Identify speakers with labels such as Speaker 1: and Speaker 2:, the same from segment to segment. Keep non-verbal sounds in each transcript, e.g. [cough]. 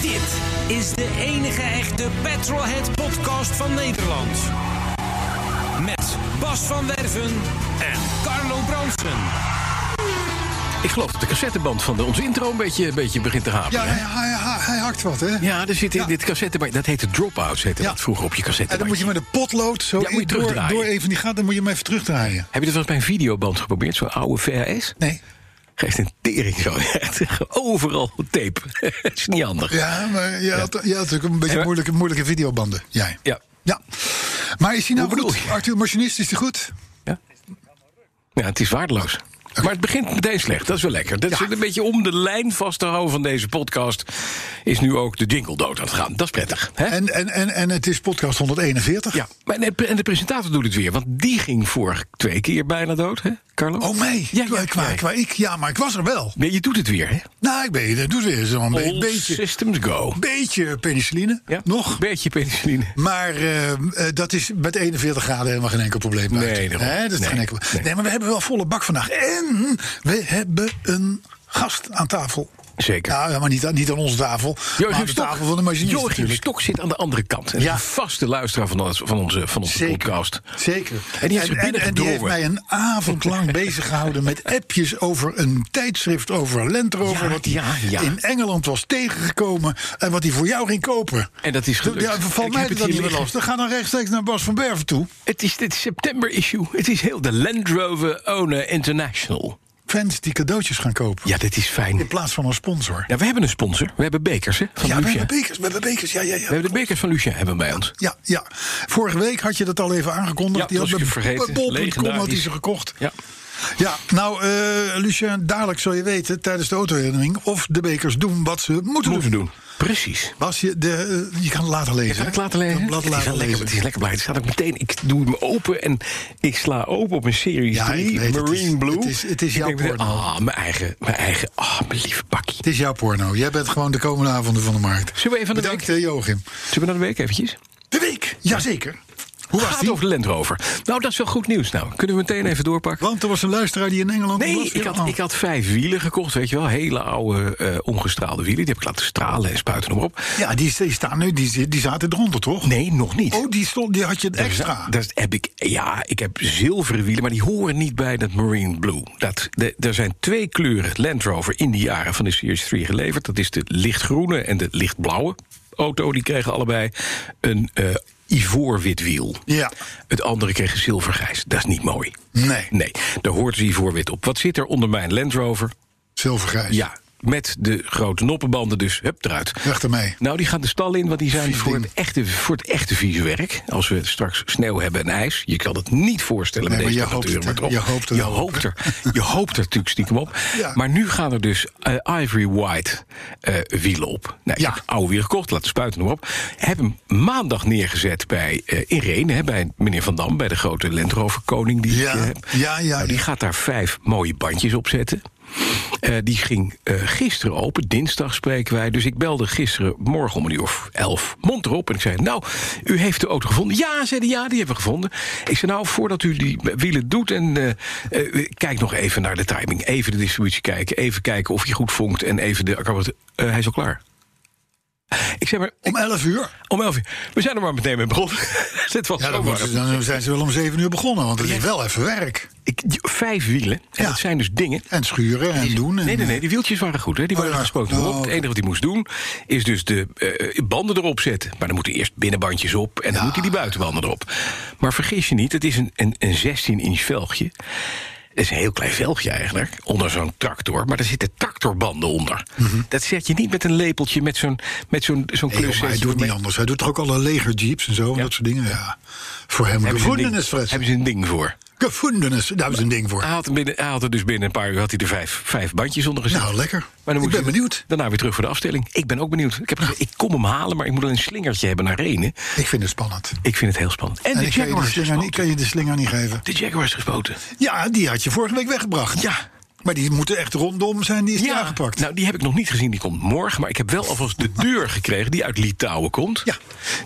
Speaker 1: Dit is de enige echte Petrolhead podcast van Nederland. Met Bas van Werven en Carlo Bronsen.
Speaker 2: Ik geloof dat de cassetteband van de, onze intro een beetje, een beetje begint te
Speaker 3: Ja,
Speaker 2: haperen.
Speaker 3: hij,
Speaker 2: hè?
Speaker 3: hij, hij- hij hakt wat, hè?
Speaker 2: ja, er zit in
Speaker 3: Ja.
Speaker 2: dit cassettebandje. Dat heette drop-outs, heette
Speaker 3: Ja.
Speaker 2: dat vroeger op je
Speaker 3: En dan moet
Speaker 2: cassettebandje.
Speaker 3: je met een potlood zo
Speaker 2: Ja, moet je
Speaker 3: in- door,
Speaker 2: terugdraaien.
Speaker 3: door even die gaten, dan moet je hem even terugdraaien.
Speaker 2: Heb je dat wel eens bij een videoband geprobeerd? Zo'n oude VHS?
Speaker 3: Nee.
Speaker 2: Geeft een tering zo. [laughs] Echt, Overal tape. [laughs] Dat is niet handig.
Speaker 3: Ja, maar je, Had, je had natuurlijk een beetje
Speaker 2: maar-
Speaker 3: moeilijke, moeilijke videobanden, jij.
Speaker 2: Ja.
Speaker 3: Ja. Maar is hij nou
Speaker 2: Hoe bedoel
Speaker 3: goed?
Speaker 2: je?
Speaker 3: Arthur Machinist, is hij goed?
Speaker 2: Ja, ja het is waardeloos. Maar het begint meteen slecht, dat is wel lekker. Dat is een beetje om de lijn vast te houden van deze podcast... is nu ook de jingle dood aan het gaan. Dat is prettig. Hè?
Speaker 3: En, en, en, en het is podcast 141.
Speaker 2: Eh? Ja, maar en de- en de presentator doet het weer. Want die ging vorige twee keer bijna dood, hè, Carlo?
Speaker 3: Oh, mee.
Speaker 2: Ja,
Speaker 3: Kwa-
Speaker 2: ja,
Speaker 3: kwa-
Speaker 2: ja.
Speaker 3: kwa- ik, ja, maar ik was er wel.
Speaker 2: Nee, je doet het weer, hè?
Speaker 3: Nou, ik ben dat doet weer zo'n be-
Speaker 2: All
Speaker 3: beetje,
Speaker 2: systems go.
Speaker 3: beetje penicilline.
Speaker 2: Ja?
Speaker 3: Nog.
Speaker 2: Beetje penicilline.
Speaker 3: Maar eh, eh, dat is met 41 graden helemaal geen enkel probleem.
Speaker 2: Nee,
Speaker 3: Bart.
Speaker 2: daarom.
Speaker 3: Hè, dat is
Speaker 2: Nee,
Speaker 3: geen enkel...
Speaker 2: nee.
Speaker 3: nee. maar we hebben wel volle bak vandaag. En we hebben een gast aan tafel.
Speaker 2: Zeker.
Speaker 3: Nou, ja, maar niet, aan- niet aan onze tafel. maar aan
Speaker 2: Joachim
Speaker 3: de
Speaker 2: Stok,
Speaker 3: tafel van de machinist
Speaker 2: Joachim
Speaker 3: natuurlijk.
Speaker 2: Stok zit aan de andere kant. En
Speaker 3: Ja.
Speaker 2: is een vaste luisteraar van, ons- van onze, van onze podcast.
Speaker 3: Zeker.
Speaker 2: En die heeft zich
Speaker 3: en, en die heeft
Speaker 2: binnengedrongen.
Speaker 3: mij een
Speaker 2: [laughs]
Speaker 3: avond lang bezig gehouden met appjes over een tijdschrift over Land Rover.
Speaker 2: Ja,
Speaker 3: wat hij
Speaker 2: ja, ja.
Speaker 3: in Engeland was tegengekomen. En wat hij voor jou ging kopen.
Speaker 2: En dat is gelukt.
Speaker 3: Ja,
Speaker 2: Ik
Speaker 3: valt
Speaker 2: heb
Speaker 3: mij
Speaker 2: het
Speaker 3: dat
Speaker 2: hier
Speaker 3: niet meer
Speaker 2: liggen.
Speaker 3: lastig. Ga dan rechtstreeks naar Bas van Berven toe.
Speaker 2: Het is dit september-issue. Het is heel de Land Rover Owner International.
Speaker 3: Fans die cadeautjes gaan kopen.
Speaker 2: Ja, dit is fijn.
Speaker 3: In plaats van een sponsor.
Speaker 2: Nou, we hebben een sponsor. We hebben bekers, hè, van
Speaker 3: Ja, we
Speaker 2: Lucia.
Speaker 3: hebben bekers, we hebben bekers. Ja, ja,
Speaker 2: We
Speaker 3: ja.
Speaker 2: hebben de bekers van Lucia hebben we bij ons.
Speaker 3: Ja, ja. Vorige week had je dat al even aangekondigd.
Speaker 2: Ja,
Speaker 3: die
Speaker 2: dat
Speaker 3: had
Speaker 2: was ik
Speaker 3: bij-
Speaker 2: vergeten.
Speaker 3: bij bol.com had hij
Speaker 2: Legendarisch.
Speaker 3: ze gekocht.
Speaker 2: Ja.
Speaker 3: Ja, nou, eh Lucien, dadelijk zal je weten tijdens de autoherinnering of de bekers doen wat ze moeten,
Speaker 2: Moeten we doen. Precies.
Speaker 3: Bas, je, de, eh, je kan het later lezen.
Speaker 2: Ik ga
Speaker 3: hè?
Speaker 2: het laten lezen.
Speaker 3: Ik kan het
Speaker 2: het, is
Speaker 3: later
Speaker 2: wel lekker,
Speaker 3: lezen.
Speaker 2: het is lekker blij. Het staat ook meteen. Ik doe hem open en ik sla open op een Series
Speaker 3: Ja, ik
Speaker 2: 3
Speaker 3: weet het,
Speaker 2: Marine
Speaker 3: het is-
Speaker 2: Blue.
Speaker 3: het is- het is
Speaker 2: Ik
Speaker 3: jouw
Speaker 2: denk meteen,
Speaker 3: porno.
Speaker 2: Ah, mijn eigen, mijn eigen. Ah, mijn lieve bakkie.
Speaker 3: Het is jouw porno. Jij bent gewoon de komende avonden van de markt.
Speaker 2: Zullen we even naar de
Speaker 3: Bedankt,
Speaker 2: week?
Speaker 3: eh, Joachim.
Speaker 2: Zullen we naar de week eventjes?
Speaker 3: De week, jazeker. Hoe was
Speaker 2: Gaat
Speaker 3: die?
Speaker 2: over de Land Rover. Nou, dat is wel goed nieuws. Nou, kunnen we meteen even doorpakken?
Speaker 3: Want er was een luisteraar die in Engeland...
Speaker 2: Nee,
Speaker 3: was.
Speaker 2: ik had,
Speaker 3: Oh.
Speaker 2: ik had vijf wielen gekocht, weet je wel. Hele oude, eh, ongestraalde wielen. Die heb ik laten stralen en spuiten hem op.
Speaker 3: Ja, die, die staan nu, die, die zaten eronder, toch?
Speaker 2: Nee, nog niet.
Speaker 3: Oh, die, stond, die had je extra.
Speaker 2: Dat heb ik, ja, ik heb zilveren wielen, maar die horen niet bij dat Marine Blue. Dat, de, er zijn twee kleuren Land Rover in de jaren van de Series 3 geleverd. Dat is de lichtgroene en de lichtblauwe auto. Die kregen allebei een eh ivoorwit wiel.
Speaker 3: Ja.
Speaker 2: Het andere kreeg een zilvergrijs. Dat is niet mooi.
Speaker 3: Nee.
Speaker 2: Nee, daar hoort ivoorwit op. Wat zit er onder mijn Land Rover?
Speaker 3: Zilvergrijs.
Speaker 2: Ja, met de grote noppenbanden dus. Hup, eruit.
Speaker 3: Weg ermee.
Speaker 2: Nou, die gaan de stal in, want die zijn
Speaker 3: Vies
Speaker 2: voor
Speaker 3: ding.
Speaker 2: het, echte, voor het echte vieze werk. Als we straks sneeuw hebben en ijs. Je kan het niet voorstellen
Speaker 3: Nee,
Speaker 2: met
Speaker 3: maar
Speaker 2: deze
Speaker 3: je hoopt
Speaker 2: temperaturen.
Speaker 3: het, hè?
Speaker 2: maar
Speaker 3: Je hoopt er
Speaker 2: je
Speaker 3: wel op,
Speaker 2: hoopt er, je hoopt er natuurlijk stiekem op.
Speaker 3: Ja.
Speaker 2: Maar nu gaan er dus eh, Ivory White eh, wielen op. Nou,
Speaker 3: Ja.
Speaker 2: Ik heb oude wielen gekocht, laten spuiten hem op. Heb hem maandag neergezet bij eh Irene, hè, bij meneer Van Dam... bij de grote Land Rover koning die
Speaker 3: Ja,
Speaker 2: ik eh, heb.
Speaker 3: ja, ja,
Speaker 2: Nou, die
Speaker 3: ja.
Speaker 2: gaat daar vijf mooie bandjes op zetten. Eh, die ging eh, gisteren open, dinsdag spreken wij. Dus ik belde gisteren morgen om een uur of elf mond erop. En ik zei, nou, u heeft de auto gevonden. Ja, zei hij, ja, die hebben we gevonden. Ik zei, nou, voordat u die wielen doet... en eh, eh, kijk nog even naar de timing. Even de distributie kijken, even kijken of je goed vonkt... en even de... eh, hij is al klaar. Ik zei, maar
Speaker 3: Om 11 uur?
Speaker 2: om elf uur. We zijn er maar meteen mee begonnen. [laughs] Dit was
Speaker 3: Ja,
Speaker 2: zo
Speaker 3: dan, moeten
Speaker 2: warm.
Speaker 3: ze- dan zijn ze wel om 7 uur begonnen, want het is wel even werk.
Speaker 2: Ik- Vijf wielen, en
Speaker 3: Ja.
Speaker 2: dat zijn dus dingen...
Speaker 3: En schuren en doen. En,
Speaker 2: Nee, nee, nee, die wieltjes waren goed, hè? die
Speaker 3: Oh,
Speaker 2: waren
Speaker 3: ja.
Speaker 2: gespoten erop.
Speaker 3: Oh,
Speaker 2: Het
Speaker 3: oké.
Speaker 2: enige wat hij moest doen, is dus de eh, banden erop zetten. Maar dan moeten eerst binnenbandjes op en dan moeten die buitenbanden erop. Maar vergis je niet, het is een, een, een 16-inch velgje. is een heel klein velgje eigenlijk, onder zo'n tractor. Maar daar zitten tractorbanden onder. Dat zet je niet met een lepeltje, met zo'n met zo'n zo'n
Speaker 3: Mhm. Nee, joh, maar hij
Speaker 2: klussetje
Speaker 3: doet
Speaker 2: ermee.
Speaker 3: niet anders. Hij doet toch ook alle legerjeeps en zo, en dat soort dingen. Ja. Voor hem
Speaker 2: Hebben ze een
Speaker 3: gevonden
Speaker 2: ding-
Speaker 3: is Fred.
Speaker 2: Hebben ze een ding voor.
Speaker 3: Gevonden daar hebben ze een ding voor.
Speaker 2: Hij had, hem binnen, hij had er dus binnen een paar uur had hij er vijf, vijf bandjes onder gezet.
Speaker 3: Nou, lekker.
Speaker 2: Maar dan
Speaker 3: Ik
Speaker 2: moet
Speaker 3: ben
Speaker 2: je
Speaker 3: benieuwd.
Speaker 2: Daarna weer terug voor de afstelling. Ik ben ook benieuwd. Ik, heb gezegd, ik kom hem halen, maar ik moet een slingertje hebben naar Renen.
Speaker 3: Ik vind het spannend.
Speaker 2: Ik vind het heel spannend. En,
Speaker 3: En
Speaker 2: de
Speaker 3: ik kan je de
Speaker 2: Jaguars
Speaker 3: slinger, niet- ik
Speaker 2: gespoten.
Speaker 3: kan je de slinger niet geven.
Speaker 2: De Jaguars gespoten.
Speaker 3: Ja, die had je vorige week weggebracht.
Speaker 2: Ja.
Speaker 3: Maar die moeten echt rondom zijn, die is niet aangepakt.
Speaker 2: Nou, die heb ik nog niet gezien. Die komt morgen. Maar ik heb wel alvast de deur gekregen die uit Litouwen komt.
Speaker 3: Ja.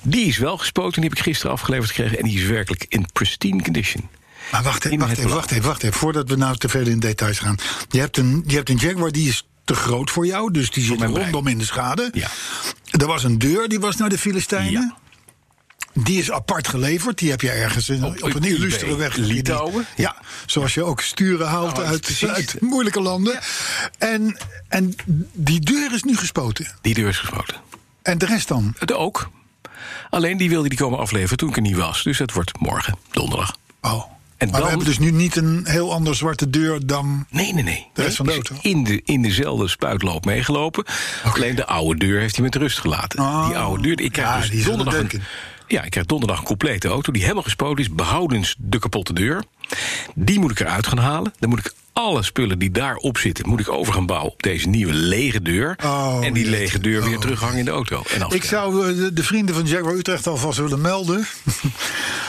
Speaker 2: Die is wel gespoten. Die heb ik gisteren afgeleverd gekregen. En die is werkelijk in pristine condition.
Speaker 3: maar wacht even,
Speaker 2: in
Speaker 3: wacht
Speaker 2: het
Speaker 3: even,
Speaker 2: blad.
Speaker 3: wacht even, wacht even. Voordat we nou te veel in details gaan. Je hebt een, je hebt een Jaguar, die is te groot voor jou. Dus die zit
Speaker 2: mijn brein.
Speaker 3: rondom in de schade.
Speaker 2: Ja.
Speaker 3: Er was een deur, die was naar de Filistijnen.
Speaker 2: Ja.
Speaker 3: Die is apart geleverd. Die heb je ergens in, op,
Speaker 2: Op
Speaker 3: een
Speaker 2: eBay.
Speaker 3: illustere weg.
Speaker 2: Litouwen?
Speaker 3: Ja, zoals je ook sturen haalt
Speaker 2: Nou,
Speaker 3: uit,
Speaker 2: precies.
Speaker 3: uit moeilijke landen. En, en die deur is nu gespoten.
Speaker 2: Die deur is gespoten.
Speaker 3: En de rest dan?
Speaker 2: Het ook. Alleen die wilde die komen afleveren toen ik er niet was. Dus dat wordt morgen, donderdag.
Speaker 3: Oh.
Speaker 2: En
Speaker 3: maar we
Speaker 2: dan-
Speaker 3: hebben dus nu niet een heel ander zwarte deur dan...
Speaker 2: Nee, nee, nee.
Speaker 3: De rest van de
Speaker 2: Nee,
Speaker 3: auto?
Speaker 2: In, de, in dezelfde spuitloop meegelopen. Alleen de oude deur heeft hij met rust gelaten.
Speaker 3: Oh.
Speaker 2: Die oude deur. Ik krijg
Speaker 3: Ja,
Speaker 2: dus
Speaker 3: die is aan de
Speaker 2: donderdag.
Speaker 3: deuk
Speaker 2: Een,
Speaker 3: in.
Speaker 2: ja, ik krijg donderdag een complete auto die helemaal gespoten is, behoudens de kapotte deur. Die moet ik eruit gaan halen. Dan moet ik alle spullen die daarop zitten, moet ik over gaan bouwen op deze nieuwe lege deur.
Speaker 3: Oh,
Speaker 2: en die
Speaker 3: jeetje.
Speaker 2: lege deur weer
Speaker 3: Oh.
Speaker 2: terughangen in de auto. En
Speaker 3: Ik
Speaker 2: afstellen.
Speaker 3: zou eh, de, de vrienden van Jaguar Utrecht alvast willen
Speaker 2: [laughs]
Speaker 3: melden...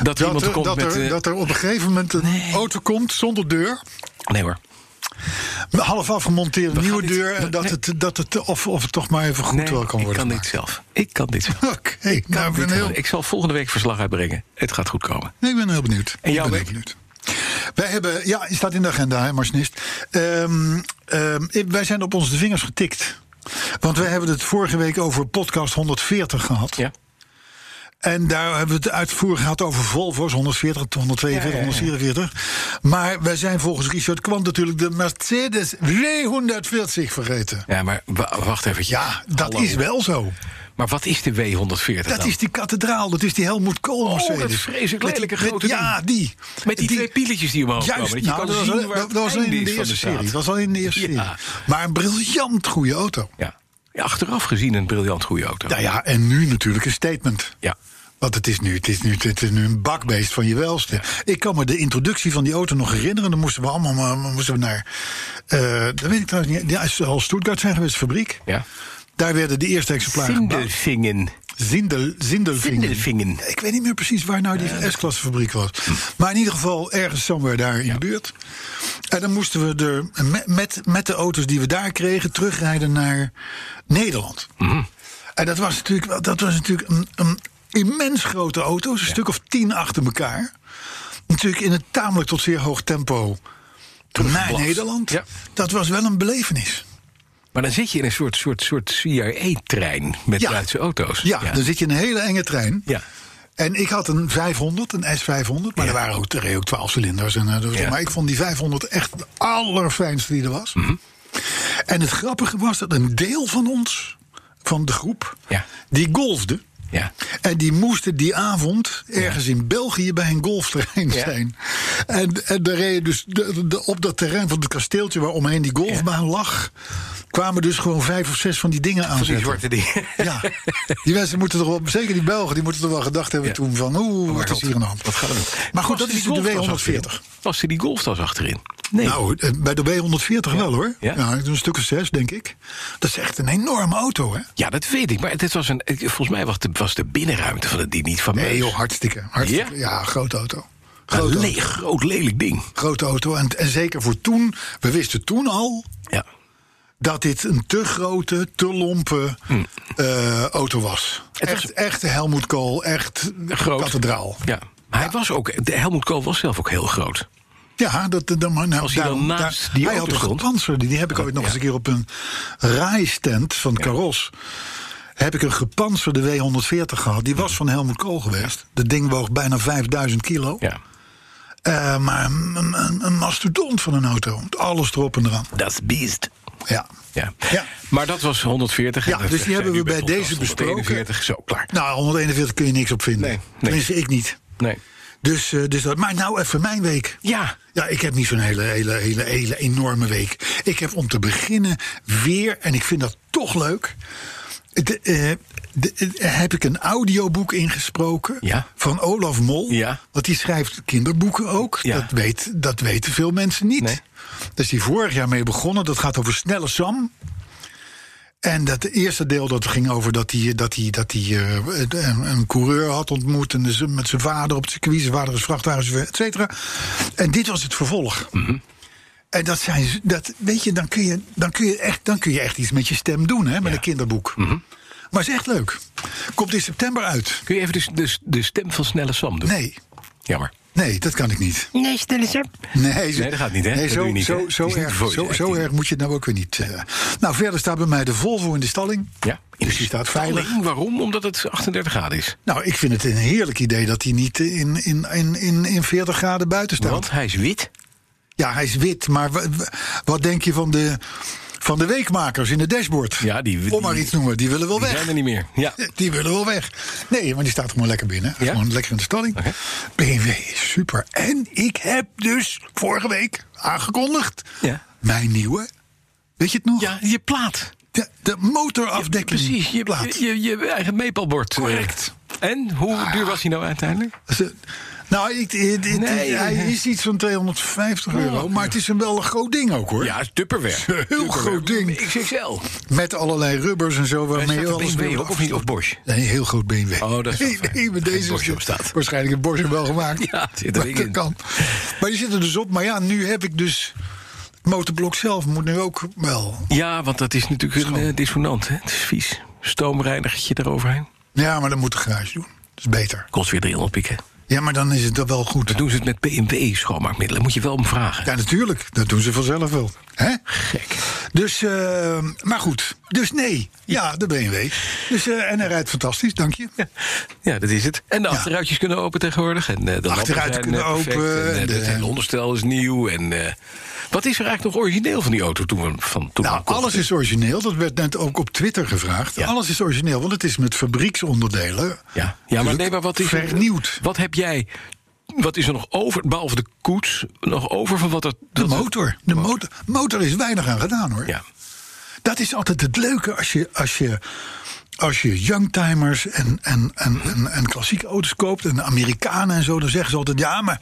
Speaker 2: dat, iemand
Speaker 3: er,
Speaker 2: komt
Speaker 3: dat,
Speaker 2: met.
Speaker 3: er,
Speaker 2: eh,
Speaker 3: dat er op een gegeven moment een auto komt zonder deur...
Speaker 2: Nee hoor.
Speaker 3: half afgemonteerde nieuwe
Speaker 2: gaan dit-
Speaker 3: deur... en
Speaker 2: we-
Speaker 3: dat het, dat het of, of het toch maar even goed
Speaker 2: Nee,
Speaker 3: wel kan
Speaker 2: ik
Speaker 3: worden
Speaker 2: kan dit
Speaker 3: gemaakt.
Speaker 2: zelf. Ik kan dit zelf.
Speaker 3: Oké, nou, ik ben
Speaker 2: Dit
Speaker 3: heel
Speaker 2: kan- Ik zal volgende week verslag uitbrengen. Het gaat goed komen.
Speaker 3: Nee, ik ben heel benieuwd.
Speaker 2: En jou,
Speaker 3: ik ben
Speaker 2: Beek?
Speaker 3: benieuwd. Wij hebben, ja, het staat in de agenda, hè, Marsnist. Ehm, ehm, ik- wij zijn op onze vingers getikt. Want wij hebben het vorige week over podcast 140 gehad.
Speaker 2: Ja.
Speaker 3: En daar hebben we het uitvoer gehad over Volvo's 140, 142, 144. Maar wij zijn volgens Richard Kwant natuurlijk de Mercedes 340 vergeten.
Speaker 2: Ja, maar wa- wacht even.
Speaker 3: Ja, dat
Speaker 2: Hallo.
Speaker 3: is wel zo.
Speaker 2: Maar wat is de W140
Speaker 3: Dat
Speaker 2: dan?
Speaker 3: is die kathedraal, dat is die Helmut Kool Mercedes.
Speaker 2: Oh, dat vreselijk
Speaker 3: Met-
Speaker 2: lelijke
Speaker 3: met-
Speaker 2: grote
Speaker 3: Ja, die.
Speaker 2: Met die, twee pieletjes die omhoog
Speaker 3: Juist,
Speaker 2: komen. Dat je
Speaker 3: nou,
Speaker 2: kan
Speaker 3: dat was,
Speaker 2: zien
Speaker 3: al-
Speaker 2: waar
Speaker 3: dat
Speaker 2: het
Speaker 3: was al
Speaker 2: einde
Speaker 3: in de
Speaker 2: is van
Speaker 3: eerste
Speaker 2: straat.
Speaker 3: serie. Dat was al in de eerste
Speaker 2: Ja.
Speaker 3: serie. Maar een briljant goede auto.
Speaker 2: Ja. Ja, Achteraf gezien een briljant goede auto.
Speaker 3: Nou ja, en nu natuurlijk een statement.
Speaker 2: Ja.
Speaker 3: Want het is nu, het is nu, het is nu een bakbeest van je welste. Ik kan me de introductie van die auto nog herinneren. Dan moesten we allemaal maar- maar moesten we naar. eh dat weet ik trouwens niet. Ja, is al Stuttgart zijn geweest, fabriek.
Speaker 2: Ja.
Speaker 3: Daar werden de eerste exemplaren gebouwd.
Speaker 2: Sindelfingen.
Speaker 3: Zindel, Zindelvingen.
Speaker 2: Sindelfingen.
Speaker 3: Ik weet niet meer precies waar nou die S-klasse fabriek was. Maar in ieder geval ergens somewhere daar in de buurt. En dan moesten we er me- met, met de auto's die we daar kregen terugrijden naar Nederland.
Speaker 2: Mhm.
Speaker 3: En dat was natuurlijk, wel- dat was natuurlijk een, een immens grote auto. Een stuk of tien achter elkaar. Natuurlijk in een tamelijk tot zeer hoog tempo naar
Speaker 2: Teruggeblast.
Speaker 3: Nederland.
Speaker 2: Ja.
Speaker 3: Dat was wel een belevenis.
Speaker 2: Maar dan zit je in een soort, soort, soort CIA-trein met
Speaker 3: Ja.
Speaker 2: Duitse auto's.
Speaker 3: Ja, dan zit je in een hele enge trein.
Speaker 2: Ja.
Speaker 3: En ik had een 500, een S500. Maar er waren ook, er reden ook 12 cilinders. En, eh, dus-
Speaker 2: Ja.
Speaker 3: Maar ik vond die 500 echt de allerfijnste die er was.
Speaker 2: Mhm.
Speaker 3: En het grappige was dat een deel van ons, van de groep,
Speaker 2: Ja.
Speaker 3: die golfde.
Speaker 2: Ja.
Speaker 3: En die moesten die avond ergens in België bij een golfterrein
Speaker 2: Ja.
Speaker 3: zijn. En, en daar reden dus de- de- op dat terrein van het kasteeltje waar omheen die golfbaan lag, kwamen dus gewoon vijf of zes van die dingen aan.
Speaker 2: Van die zwarte dingen.
Speaker 3: Ja, die mensen moeten toch wel, zeker die Belgen, die moeten toch wel gedacht hebben
Speaker 2: Ja. Oh,
Speaker 3: toen van, oeh, wat is hier aan de hand?
Speaker 2: Wat gaan we doen?
Speaker 3: Maar goed,
Speaker 2: Paste
Speaker 3: dat is
Speaker 2: die
Speaker 3: de
Speaker 2: golftas
Speaker 3: W140.
Speaker 2: achterin? Paste die golftas achterin? Nee.
Speaker 3: Nou, eh, bij de W140 wel hoor.
Speaker 2: Ja.
Speaker 3: Ja. een stuk of zes, denk ik. Dat is echt een enorme auto, hè?
Speaker 2: Ja, dat weet ik. Maar dit was een, ik- volgens mij was de, was de binnenruimte van het die niet van mij.
Speaker 3: Nee joh, hartstikke. hartstikke.
Speaker 2: Ja?
Speaker 3: Ja? grote auto.
Speaker 2: Een
Speaker 3: Grote auto.
Speaker 2: leeg, groot, lelijk ding.
Speaker 3: Grote auto. En, en zeker voor toen, we wisten toen al
Speaker 2: Ja.
Speaker 3: dat dit een te grote, te lompe eh, auto was.
Speaker 2: Hm. Het was-
Speaker 3: echt, echt Helmoet Kool, echt
Speaker 2: Groot.
Speaker 3: kathedraal.
Speaker 2: Ja. Maar hij was ook, de Helmut Kool was zelf ook heel groot.
Speaker 3: Ja, dat, dat, maar nou,
Speaker 2: Als hij dan naast die
Speaker 3: hij
Speaker 2: auto
Speaker 3: had een
Speaker 2: stond. Oh,
Speaker 3: gepantserde, die heb ik ooit nog eens een keer op een rijstand van Caros. Heb ik een gepantserde W140 gehad. Die was van Helmut Kool geweest. Dat ding woog bijna 5000 kilo.
Speaker 2: Ja.
Speaker 3: Eh, maar een, een, een mastodont van een auto. Met Alles erop en eraan.
Speaker 2: Dat beest.
Speaker 3: Ja.
Speaker 2: Ja.
Speaker 3: Ja.
Speaker 2: Maar dat was 140.
Speaker 3: Ja,
Speaker 2: En dat
Speaker 3: dus die
Speaker 2: zijn
Speaker 3: hebben
Speaker 2: nu
Speaker 3: we bij
Speaker 2: podcast
Speaker 3: deze besproken.
Speaker 2: 141, zo klaar.
Speaker 3: Nou, 141 kun je niks op vinden.
Speaker 2: Nee, nee.
Speaker 3: Tenminste, ik niet.
Speaker 2: Nee.
Speaker 3: Dus, eh, dus dat. Maar nou even mijn week.
Speaker 2: Ja.
Speaker 3: Ja, ik heb niet zo'n hele, hele, hele, hele enorme week. Ik heb om te beginnen weer, en ik vind dat toch leuk. de, eh, de, eh, heb ik een audioboek ingesproken
Speaker 2: Ja.
Speaker 3: van Olaf Mol.
Speaker 2: Ja.
Speaker 3: Want die schrijft kinderboeken ook.
Speaker 2: Ja.
Speaker 3: Dat, weet, dat weten veel mensen niet.
Speaker 2: Nee.
Speaker 3: Daar is die vorig jaar mee begonnen. Dat gaat over Snelle Sam. En dat eerste deel dat ging over dat hij, dat hij, dat hij eh, een, een coureur had ontmoet. En dus met zijn vader op het circuit. Zijn vader is vrachtwagenchauffeur, et cetera. En dit was het vervolg. En dat zijn, z- dat, weet je, dan kun je, dan, kun je echt, dan kun je echt iets met je stem doen, hè, met een kinderboek. Maar het is echt leuk. Komt in september uit.
Speaker 2: Kun je even de, de, de stem van Snelle Sam doen?
Speaker 3: Nee,
Speaker 2: Jammer.
Speaker 3: nee, dat kan ik niet.
Speaker 2: Nee, Snelle Sam.
Speaker 3: Nee, zo-
Speaker 2: Nee, dat gaat niet, hè?
Speaker 3: Nee,
Speaker 2: Dat doe
Speaker 3: zo,
Speaker 2: je niet, hè?
Speaker 3: zo,
Speaker 2: Het
Speaker 3: zo,
Speaker 2: is niet
Speaker 3: erg,
Speaker 2: voor je
Speaker 3: zo, zo
Speaker 2: acting.
Speaker 3: erg moet je het nou ook weer niet. eh. nou, verder staat bij mij de Volvo in de stalling.
Speaker 2: Ja.
Speaker 3: Dus die staat veilig.
Speaker 2: Alleen, Waarom? Omdat het 38 graden is.
Speaker 3: Nou, ik vind het een heerlijk idee dat hij niet eh, in, in, in, in, in 40 graden buiten staat.
Speaker 2: Want hij is wit.
Speaker 3: Ja, hij is wit, maar wa- wa- wat denk je van de, van de weekmakers in het dashboard?
Speaker 2: Ja, die-
Speaker 3: Om maar
Speaker 2: die-
Speaker 3: iets te noemen, die willen wel
Speaker 2: Die
Speaker 3: weg.
Speaker 2: zijn er niet meer. Ja.
Speaker 3: Die willen wel weg. Nee, maar die staat gewoon lekker binnen.
Speaker 2: Ja?
Speaker 3: Gewoon lekker in de stalling.
Speaker 2: Oké.
Speaker 3: BMW is super. En ik heb dus vorige week aangekondigd...
Speaker 2: Ja.
Speaker 3: mijn nieuwe, weet je het nog?
Speaker 2: Ja, je plaat.
Speaker 3: De, de motorafdekking.
Speaker 2: Precies, je,
Speaker 3: plaat.
Speaker 2: je, je, je eigen meepelbord.
Speaker 3: Correct. Ah.
Speaker 2: En hoe duur was hij nou uiteindelijk?
Speaker 3: Ze- Nou, ik, het- het-
Speaker 2: Nee. Oh.
Speaker 3: hij is iets van 250 euro. Maar het is een wel een groot ding ook, hoor.
Speaker 2: Ja, Tupperware.
Speaker 3: [laughs] Heel groot ding.
Speaker 2: XXL.
Speaker 3: Met allerlei rubbers en zo
Speaker 2: En
Speaker 3: waarmee
Speaker 2: staat
Speaker 3: je
Speaker 2: er
Speaker 3: alles
Speaker 2: BMW
Speaker 3: wil
Speaker 2: ook of niet? Of Bosch?
Speaker 3: Nee, heel groot BMW.
Speaker 2: Oh, dat is wel
Speaker 3: Nee,
Speaker 2: fijn.
Speaker 3: nee, met
Speaker 2: Geen
Speaker 3: deze
Speaker 2: Bosch
Speaker 3: is het
Speaker 2: op staat.
Speaker 3: Waarschijnlijk een Bosch er wel gemaakt.
Speaker 2: Ja, het zit er
Speaker 3: Maar
Speaker 2: dik
Speaker 3: dat
Speaker 2: in.
Speaker 3: kan. Maar die zitten dus op. Maar ja, nu heb ik dus... Het motorblok zelf moet nu ook wel...
Speaker 2: Ja, want dat is natuurlijk een
Speaker 3: Schoon.
Speaker 2: eh, dissonant. Hè? Het is vies. Stoomreinigertje eroverheen.
Speaker 3: Ja, maar dan moet de garage doen. Dat is beter.
Speaker 2: Kost weer 300 pikken.
Speaker 3: Ja, maar dan is het toch wel goed.
Speaker 2: Dan doen ze het met BMW schoonmaakmiddelen. Moet je wel om vragen.
Speaker 3: Ja, natuurlijk. Dat doen ze vanzelf wel. Hè?
Speaker 2: Gek.
Speaker 3: Dus, eh, maar goed. Dus nee. Ja, de BMW. Dus, eh, en hij rijdt fantastisch, dank je.
Speaker 2: Ja, dat is het. En de achteruitjes kunnen open tegenwoordig. En eh, de lampen
Speaker 3: Achteruiten
Speaker 2: zijn,
Speaker 3: kunnen
Speaker 2: eh, perfect.
Speaker 3: open,
Speaker 2: En, eh,
Speaker 3: de-
Speaker 2: het- het onderstel is nieuw. En, eh, wat is er eigenlijk nog origineel van die auto toen we van toen we
Speaker 3: Nou,
Speaker 2: hem kochten?
Speaker 3: alles is origineel. Dat werd net ook op Twitter gevraagd.
Speaker 2: Ja.
Speaker 3: Alles is origineel, want het is met fabrieksonderdelen.
Speaker 2: Ja, ja maar, nee, maar wat is er-
Speaker 3: Vernieuwd.
Speaker 2: Wat heb jij. Wat is er nog over, behalve de koets, nog over van wat er.
Speaker 3: De
Speaker 2: dat-
Speaker 3: motor. De motor, motor is weinig aan gedaan hoor.
Speaker 2: Ja.
Speaker 3: Dat is altijd het leuke als je, als je, als je youngtimers en, en, en,
Speaker 2: Mhm.
Speaker 3: en, en klassieke auto's koopt. En de Amerikanen en zo. Dan zeggen ze altijd: ja, maar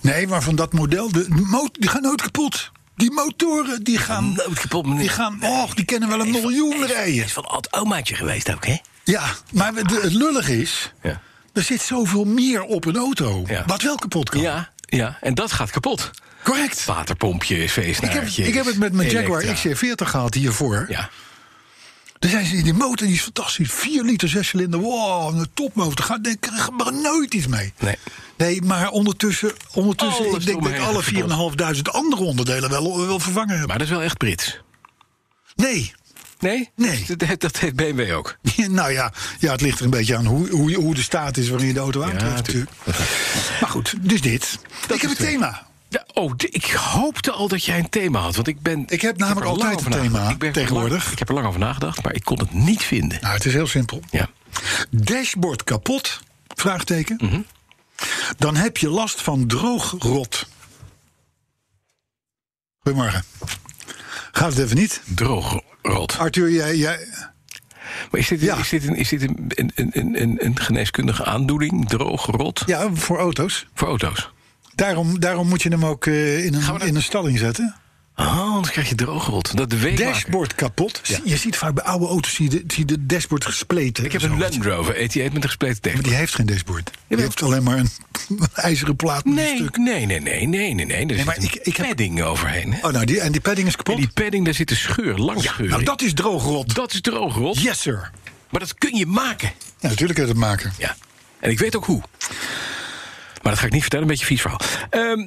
Speaker 3: nee, maar van dat model. De motor, die gaan nooit kapot. Die motoren die gaan.
Speaker 2: Nooit kapot, meneer.
Speaker 3: Die gaan. Och, die kennen wel een miljoen rijden.
Speaker 2: van oud omaatje geweest ook, hè?
Speaker 3: Ja, maar we- de- het lullige is.
Speaker 2: Ja.
Speaker 3: Er zit zoveel meer op een auto.
Speaker 2: Ja.
Speaker 3: Wat wel kapot kan.
Speaker 2: Ja, ja, en dat gaat kapot.
Speaker 3: Correct.
Speaker 2: Waterpompje,
Speaker 3: Ik heb,
Speaker 2: feestnaartje.
Speaker 3: ik heb het met mijn Jaguar
Speaker 2: Elektra.
Speaker 3: XC40 gehad hiervoor.
Speaker 2: Ja.
Speaker 3: Toen zei ze, die motor die is fantastisch. 4 liter, 6 cilinder. Wow, een topmotor. Ga, daar krijg je maar nooit iets mee.
Speaker 2: Nee.
Speaker 3: Nee, maar ondertussen, ondertussen
Speaker 2: Alles
Speaker 3: ik denk dat ik
Speaker 2: eromheen
Speaker 3: alle
Speaker 2: gekapot.
Speaker 3: 4.500 andere onderdelen wel, wel vervangen heb.
Speaker 2: Maar dat is wel echt Brits.
Speaker 3: Nee. [laughs]
Speaker 2: Nee?
Speaker 3: Nee.
Speaker 2: Dat, heeft- dat heeft BMW ook.
Speaker 3: nou ja, ja, het ligt er een beetje aan hoe, hoe, je- hoe de staat is waarin je de auto aantreft natuurlijk. Maar goed, dus dit. ik heb een thema.
Speaker 2: Ja, oh, d- ik hoopte al dat jij een thema had. Want ik ben.
Speaker 3: heb
Speaker 2: er
Speaker 3: namelijk
Speaker 2: lang
Speaker 3: altijd
Speaker 2: over
Speaker 3: een
Speaker 2: nagedacht.
Speaker 3: thema,
Speaker 2: Ik ben er
Speaker 3: tegenwoordig.
Speaker 2: lang- ik heb er lang over nagedacht, maar ik kon het niet vinden.
Speaker 3: Nou, het is heel simpel.
Speaker 2: Ja.
Speaker 3: Dashboard kapot? Vraagteken.
Speaker 2: Mhm.
Speaker 3: Dan heb je last van droogrot. Goedemorgen. Gaat het even niet?
Speaker 2: Droogrot.
Speaker 3: Arthur, jij. jij
Speaker 2: Maar is dit,
Speaker 3: Ja.
Speaker 2: is dit, een, is dit een, een, een, een, een geneeskundige aandoening? Droogrot?
Speaker 3: ja, voor auto's.
Speaker 2: Voor auto's.
Speaker 3: Daarom, daarom moet je hem ook eh, in,
Speaker 2: Gaan
Speaker 3: een,
Speaker 2: we naar-
Speaker 3: in een stalling zetten.
Speaker 2: Oh, anders krijg je droogrot. Dat de weekmaker.
Speaker 3: Dashboard kapot. Je ziet vaak bij oude auto's zie je de, zie je de dashboard gespleten.
Speaker 2: Ik heb een
Speaker 3: Zo.
Speaker 2: Land Rover 88 met een gespleten dashboard.
Speaker 3: Maar die heeft geen dashboard. Die
Speaker 2: Jawel.
Speaker 3: heeft alleen maar een [laughs] ijzeren plaat met een
Speaker 2: Nee,
Speaker 3: stuk.
Speaker 2: nee, nee, nee, nee, nee, nee. Er zit
Speaker 3: maar
Speaker 2: een
Speaker 3: ik- ik heb-
Speaker 2: padding overheen. Hè?
Speaker 3: Oh, nou, die, en die padding is kapot.
Speaker 2: En die padding, daar zit een scheur, langs scheur.
Speaker 3: nou,
Speaker 2: in.
Speaker 3: dat is droogrot.
Speaker 2: dat is droogrot.
Speaker 3: Yes, sir.
Speaker 2: Maar dat kun je maken.
Speaker 3: Ja, natuurlijk kun je dat maken.
Speaker 2: Ja. En ik weet ook hoe. Maar dat ga ik niet vertellen, een beetje vies verhaal. Ehm,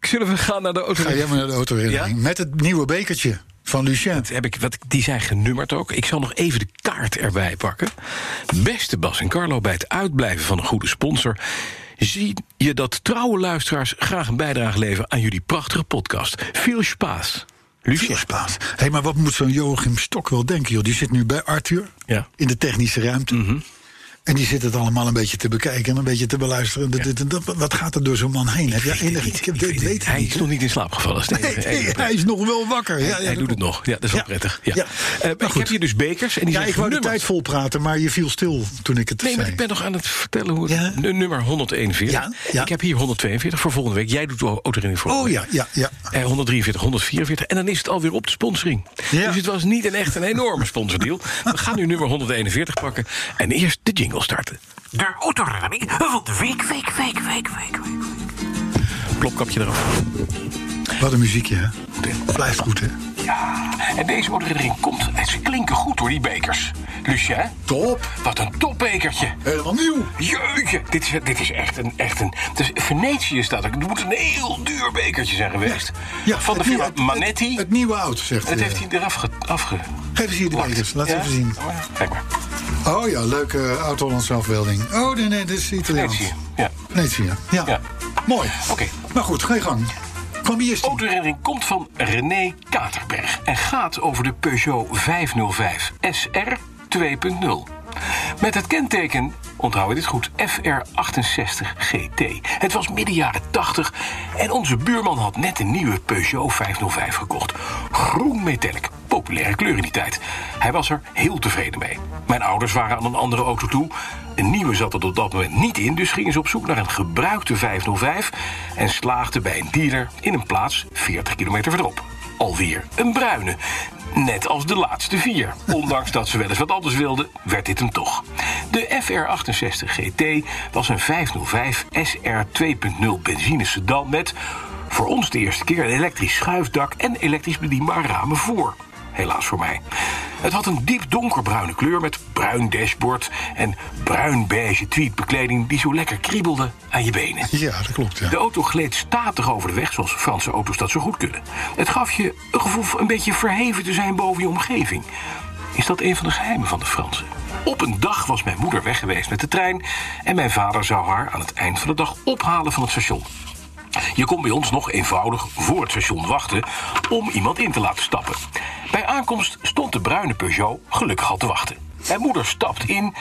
Speaker 2: zullen we gaan naar de auto?
Speaker 3: Ga jij maar naar de autoherinnering.
Speaker 2: Ja?
Speaker 3: Met het nieuwe bekertje van Lucien.
Speaker 2: Heb ik, wat, die zijn genummerd ook. Ik zal nog even de kaart erbij pakken. Beste Bas en Carlo, bij het uitblijven van een goede sponsor... zie je dat trouwe luisteraars graag een bijdrage leveren... aan jullie prachtige podcast. Veel spaas. Lucien.
Speaker 3: Veel spaas. Hé, maar wat moet zo'n Joachim Stok wel denken, joh? Die zit nu bij Arthur
Speaker 2: Ja. Mhm.
Speaker 3: in de technische ruimte. En die zitten het allemaal een beetje te bekijken en een beetje te beluisteren. Dat- dit en dat. wat gaat er door zo'n man heen? Heb jij enig? Ik heb, weet, weet
Speaker 2: hij
Speaker 3: het niet.
Speaker 2: is nog niet in slaap gevallen. is het
Speaker 3: Nee,
Speaker 2: enige.
Speaker 3: nee,
Speaker 2: Hij-
Speaker 3: hij is nog wel wakker. Ja,
Speaker 2: hij
Speaker 3: ja, dat
Speaker 2: doet het
Speaker 3: klopt.
Speaker 2: nog. Ja, dat is wel
Speaker 3: Ja.
Speaker 2: prettig. Ja.
Speaker 3: Ja.
Speaker 2: Eh,
Speaker 3: Nou,
Speaker 2: ik heb
Speaker 3: goed.
Speaker 2: hier dus bekers. En die
Speaker 3: Ja,
Speaker 2: zijn
Speaker 3: ik wou de
Speaker 2: genummerd.
Speaker 3: tijd vol praten, maar je viel stil toen ik het
Speaker 2: Nee, maar
Speaker 3: zei.
Speaker 2: ik ben nog aan het vertellen hoe
Speaker 3: Ja.
Speaker 2: de nummer 141.
Speaker 3: Ja, ja.
Speaker 2: Ik heb hier 142 voor volgende week. Jij doet de autorinning voor.
Speaker 3: Oh
Speaker 2: volgende
Speaker 3: ja, ja, ja.
Speaker 2: Eh, 143, 144. En dan is het alweer op de sponsoring.
Speaker 3: Ja.
Speaker 2: Dus het was niet een echt een enorme
Speaker 3: [laughs]
Speaker 2: sponsordeal. We gaan nu nummer 141 pakken. En eerst de jingle starten.
Speaker 4: De autoraring van de week, week, week, week, week. week.
Speaker 2: Plopkapje eraf.
Speaker 3: Wat een muziekje, hè? Blijft goed, hè?
Speaker 2: Ja. En deze autorinning komt. En ze klinken goed door die bekers. Lucien,
Speaker 3: Top.
Speaker 2: wat een topbekertje.
Speaker 3: Helemaal nieuw.
Speaker 2: Jeetje, dit is, dit is echt een... Echt een het is, Venetië staat er. Het moet een heel duur bekertje zijn geweest. van de
Speaker 3: het
Speaker 2: firma
Speaker 3: nieuwe- het-
Speaker 2: Manetti.
Speaker 3: Het, het nieuwe oud, zegt eh,
Speaker 2: Het
Speaker 3: hij.
Speaker 2: heeft hij eraf ge, afge...
Speaker 3: Geef eens hier de bekers, laat
Speaker 2: Ja?
Speaker 3: even zien.
Speaker 2: Kijk maar,
Speaker 3: Oh ja, leuke eh, oud-Hollandse afbeelding. Oh nee, nee, dit is Italiaans.
Speaker 2: Venetië. Ja.
Speaker 3: Venetië, ja.
Speaker 2: Ja.
Speaker 3: Mooi.
Speaker 2: Oké. Oh.
Speaker 3: Maar goed, ga je gang. Kwam hier die?
Speaker 2: Autoherinnering komt van René Katerberg en gaat over de Peugeot 505 SR 2.0. Met het kenteken, onthoud je dit goed, FR68 GT. Het was midden jaren 80 en onze buurman had net een nieuwe Peugeot 505 gekocht. Groen metallic, populaire kleur in die tijd. Hij was er heel tevreden mee. Mijn ouders waren aan een andere auto toe. Een nieuwe zat er op dat moment niet in, dus gingen ze op zoek naar een gebruikte 505 en slaagden bij een dealer in een plaats 40 kilometer verderop. Alweer een bruine. Net als de laatste vier. Ondanks dat ze wel eens wat anders wilden, werd dit hem toch. De FR68 GT was een 505 SR 2.0 benzine sedan met voor ons de eerste keer een elektrisch schuifdak en elektrisch bedienbaar ramen voor helaas voor mij. Het had een diep donkerbruine kleur met bruin dashboard en bruin beige tweetbekleding die zo lekker kriebelde aan je benen.
Speaker 3: Ja, dat klopt, ja.
Speaker 2: De auto gleed statig over de weg, zoals Franse auto's dat zo goed kunnen. Het gaf je een gevoel een beetje verheven te zijn boven je omgeving. Is dat een van de geheimen van de Fransen? Op een dag was mijn moeder weg geweest met de trein... en mijn vader zou haar aan het eind van de dag ophalen van het station. Je kon bij ons nog eenvoudig voor het station wachten om iemand in te laten stappen. Bij aankomst stond de bruine Peugeot gelukkig al te wachten. Mijn moeder stapt in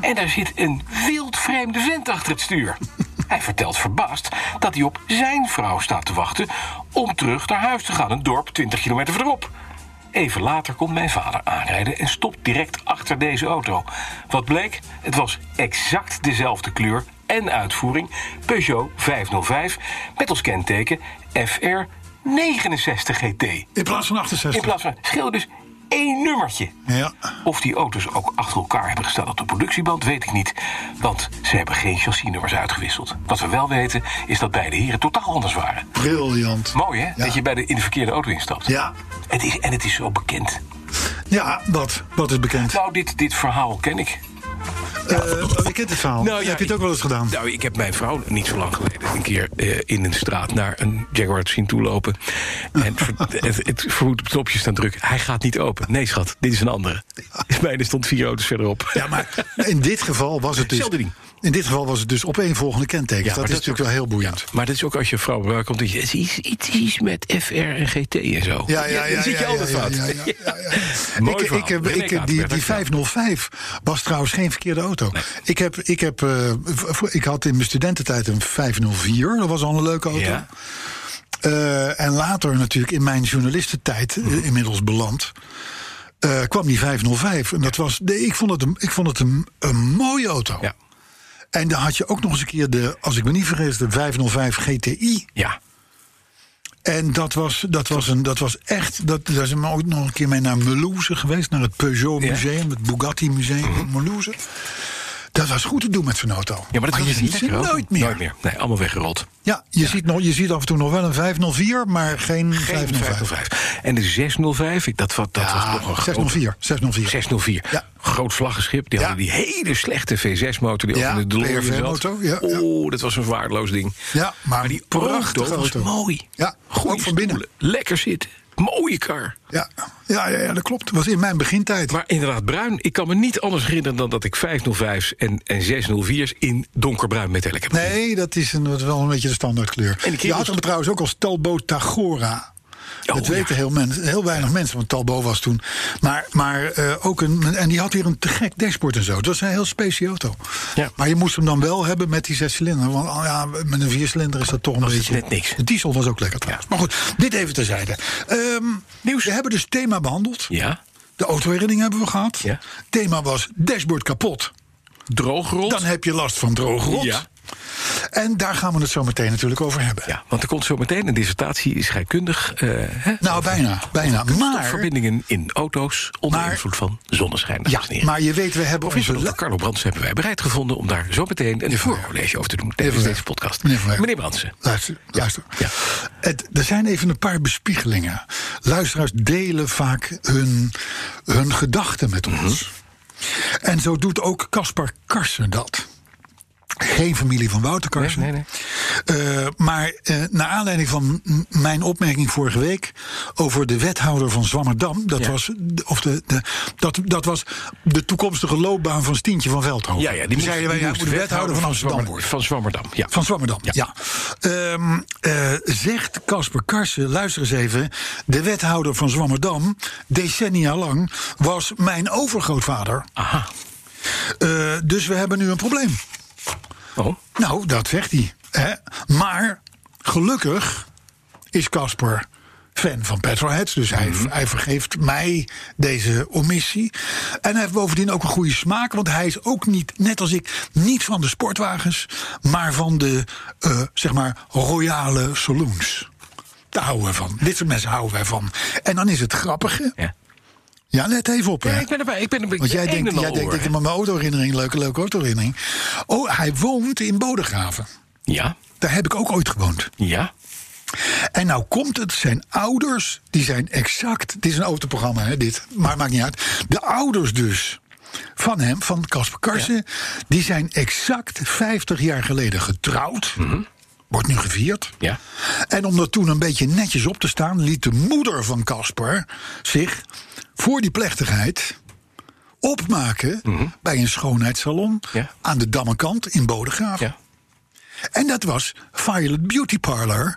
Speaker 2: en daar zit een wild vreemde vent achter het stuur. Hij vertelt verbaasd dat hij op zijn vrouw staat te wachten om terug naar huis te gaan, een dorp 20 kilometer verderop. Even later komt mijn vader aanrijden en stopt direct achter deze auto. Wat bleek? Het was exact dezelfde kleur en uitvoering Peugeot 505 met als kenteken FR 69 GT.
Speaker 3: In plaats van
Speaker 2: In
Speaker 3: 68.
Speaker 2: plaats van scheelde dus één nummertje.
Speaker 3: Ja.
Speaker 2: Of die auto's ook achter elkaar hebben gestaan op de productieband, weet ik niet. Want ze hebben geen chassisnummers uitgewisseld. Wat we wel weten, is dat beide heren totaal anders waren.
Speaker 3: Briljant.
Speaker 2: Mooi hè,
Speaker 3: Ja.
Speaker 2: dat je bij de, in de verkeerde auto instapt.
Speaker 3: Ja.
Speaker 2: Het is, en het is zo bekend.
Speaker 3: Ja, wat? Wat is bekend?
Speaker 2: Nou, dit, dit verhaal ken ik.
Speaker 3: Eh, oh, je kent het verhaal. Heb je het ook wel eens gedaan?
Speaker 2: Nou, ik heb mijn vrouw niet zo lang geleden een keer eh, in een straat naar een Jaguar zien toelopen.
Speaker 3: [laughs]
Speaker 2: En ver- het, het verhoed op het knopje staan druk. Hij gaat niet open. Nee, schat, dit is een andere. [laughs] Mijne stond vier auto's verderop.
Speaker 3: Ja, maar in dit geval was het dus...
Speaker 2: Zelfde ding.
Speaker 3: In dit geval was het dus opeenvolgende kentekens.
Speaker 2: maar
Speaker 3: dat is
Speaker 2: dat is
Speaker 3: natuurlijk wel heel boeiend.
Speaker 2: [laughs] Maar dat is ook als je vrouw bij elkaar komt. dat je- Het is iets, iets met FR en GT en zo.
Speaker 3: Ja, ja, ja.
Speaker 2: Dan zit je
Speaker 3: ja,
Speaker 2: altijd
Speaker 3: ja,
Speaker 2: fout.
Speaker 3: ja, ja, ja,
Speaker 2: [laughs]
Speaker 3: ja.
Speaker 2: Mooi
Speaker 3: Ik,
Speaker 2: verhaal.
Speaker 3: ik heb,
Speaker 2: René
Speaker 3: ik heb die,
Speaker 2: Kaatberg,
Speaker 3: die
Speaker 2: dankjewel.
Speaker 3: 505 was trouwens geen verkeerde auto. Ik, heb, ik, heb, eh, v- voor- ik had in mijn studententijd een 504. Dat was al een leuke auto.
Speaker 2: Ja.
Speaker 3: Eh, en later natuurlijk in mijn journalistentijd, eh,
Speaker 2: Hm.
Speaker 3: inmiddels beland... eh, kwam die 505. En dat was, nee, ik vond het, een, ik vond het een, een mooie auto.
Speaker 2: Ja.
Speaker 3: En dan had je ook nog eens een keer de, als ik me niet vergis, de 505 GTI.
Speaker 2: ja.
Speaker 3: En dat was, dat was, een, dat was echt. Dat, daar zijn we ook nog een keer mee naar Melouse geweest. Naar het Peugeot
Speaker 2: Ja. Mhm.
Speaker 3: Museum, het Bugatti Museum in Melouse. Dat was goed te doen met zo'n auto.
Speaker 2: Ja, maar dat
Speaker 3: je
Speaker 2: was
Speaker 3: ziet
Speaker 2: niet
Speaker 3: ze
Speaker 2: lekker ook.
Speaker 3: nooit meer.
Speaker 2: Nooit meer. Nee, allemaal weggerold.
Speaker 3: Ja, je, Ziet nog, je ziet af en toe nog wel een 504, maar geen,
Speaker 2: Geen
Speaker 3: 505.
Speaker 2: 505. En de 605, ik- dat, wat, dat was nog een grote-
Speaker 3: 604. 604.
Speaker 2: 604.
Speaker 3: Ja.
Speaker 2: Groot slaggenschip. Die
Speaker 3: Ja.
Speaker 2: hadden die hele slechte V6-motor die
Speaker 3: Ja,
Speaker 2: ook in de DeLorean zat.
Speaker 3: PRV-motor, ja, ja.
Speaker 2: Oh, dat was een waardeloos ding.
Speaker 3: Ja, maar
Speaker 2: die
Speaker 3: prachtige
Speaker 2: auto was
Speaker 3: auto.
Speaker 2: mooi.
Speaker 3: Ja,
Speaker 2: Goeie
Speaker 3: ook van binnen.
Speaker 2: stoelen, Lekker zitten. Mooie kar.
Speaker 3: Ja, ja, ja, ja, dat klopt. Dat was in mijn begintijd.
Speaker 2: Maar inderdaad, bruin. Ik kan me niet anders herinneren dan dat ik 505's en, en 604's in donkerbruin metallic heb. gezien.
Speaker 3: Nee, dat is, een, dat is wel een beetje de standaardkleur.
Speaker 2: En die
Speaker 3: je
Speaker 2: kerels-
Speaker 3: had hem trouwens ook als Talbot Tagora. dat
Speaker 2: Oh, ja.
Speaker 3: weten heel, men, heel weinig mensen, want Talbo was toen. Maar, maar eh, ook een. En die had weer een te gek dashboard en zo. Dat was een heel specie auto.
Speaker 2: Ja.
Speaker 3: Maar je moest hem dan wel hebben met die zes cilinder. Want oh ja, met een viercilinder is dat toch een
Speaker 2: Was het
Speaker 3: beetje.
Speaker 2: net niks.
Speaker 3: De diesel was ook lekker trouwens. Maar goed, dit even terzijde. Nieuws. We hebben dus thema behandeld.
Speaker 2: Ja.
Speaker 3: De autoherinnering hebben we gehad.
Speaker 2: Ja.
Speaker 3: Thema was dashboard kapot.
Speaker 2: Droogrot.
Speaker 3: Dan heb je last van droge rot.
Speaker 2: Ja.
Speaker 3: En daar gaan we het zo meteen natuurlijk over hebben.
Speaker 2: Ja, want er komt zo meteen een dissertatie scheikundig. eh, hè,
Speaker 3: Nou, bijna. bijna. Maar,
Speaker 2: Verbindingen in auto's onder
Speaker 3: Maar-
Speaker 2: invloed van zonneschijn.
Speaker 3: ja,
Speaker 2: dames en heren.
Speaker 3: maar je weet, we hebben
Speaker 2: Of is
Speaker 3: onze...
Speaker 2: het dat?
Speaker 3: lu-
Speaker 2: Carlo Brands hebben wij bereid gevonden om daar zo meteen een voorcollege over te doen tijdens
Speaker 3: Verwey.
Speaker 2: deze podcast.
Speaker 3: Meneer Verwey.
Speaker 2: Meneer Brandsen.
Speaker 3: Luister, luister.
Speaker 2: ja.
Speaker 3: Het, er zijn even een paar bespiegelingen. Luisteraars delen vaak hun, hun gedachten met ons.
Speaker 2: Mhm.
Speaker 3: En zo doet ook Caspar Karsen dat. Geen familie van Wouter Karsen.
Speaker 2: Nee, nee,
Speaker 3: Eh, maar eh, naar aanleiding van m- mijn opmerking vorige week over de wethouder van Zwammerdam, dat,
Speaker 2: Ja.
Speaker 3: was, de- of de, de, dat, dat was de toekomstige loopbaan van Stientje van Veldhoven.
Speaker 2: Ja, ja, die
Speaker 3: Toen
Speaker 2: moest-
Speaker 3: zeiden wij,
Speaker 2: die
Speaker 3: ja,
Speaker 2: moest
Speaker 3: moet de wethouder van Amsterdam
Speaker 2: Zwammerdam-
Speaker 3: worden.
Speaker 2: Van Zwammerdam, ja.
Speaker 3: Van Zwammerdam, ja. Ehm, eh, zegt Casper Karsen, luister eens even. De wethouder van Zwammerdam, decennia lang, was mijn overgrootvader.
Speaker 2: Aha.
Speaker 3: Eh, dus we hebben nu een probleem.
Speaker 2: Oh,
Speaker 3: Nou, dat zegt hij. Hè? Maar gelukkig is Casper fan van Petrolheads. Dus hij, hij vergeeft mij deze omissie. En hij heeft bovendien ook een goede smaak. Want hij is ook niet, net als ik, niet van de sportwagens. Maar van de, eh, zeg maar, royale saloons. Daar houden we van. Dit soort mensen houden wij van. En dan is het grappige.
Speaker 2: ja.
Speaker 3: Ja, let even op.
Speaker 2: Ja,
Speaker 3: hè.
Speaker 2: ik ben erbij. Ik ben erbij.
Speaker 3: Want jij
Speaker 2: Een
Speaker 3: denkt,
Speaker 2: en al
Speaker 3: jij denkt
Speaker 2: oor.
Speaker 3: ik heb maar mijn autoherinnering, leuke, leuke autoherinnering. Oh, hij woont in Bodegraven.
Speaker 2: Ja,
Speaker 3: Daar heb ik ook ooit gewoond.
Speaker 2: ja.
Speaker 3: En nou komt het, zijn ouders, die zijn exact... Dit is een autoprogramma, hè, dit, maar maakt niet uit. De ouders dus van hem, van Casper Karsen... die zijn exact 50 jaar geleden getrouwd. Wordt nu gevierd.
Speaker 2: Mhm. Ja.
Speaker 3: En om dat toen een beetje netjes op te staan... liet de moeder van Casper zich voor die plechtigheid... opmaken bij een schoonheidssalon...
Speaker 2: Mhm. Ja.
Speaker 3: aan de Dammekant in Bodegraven.
Speaker 2: ja.
Speaker 3: En dat was Violet Beauty Parlor,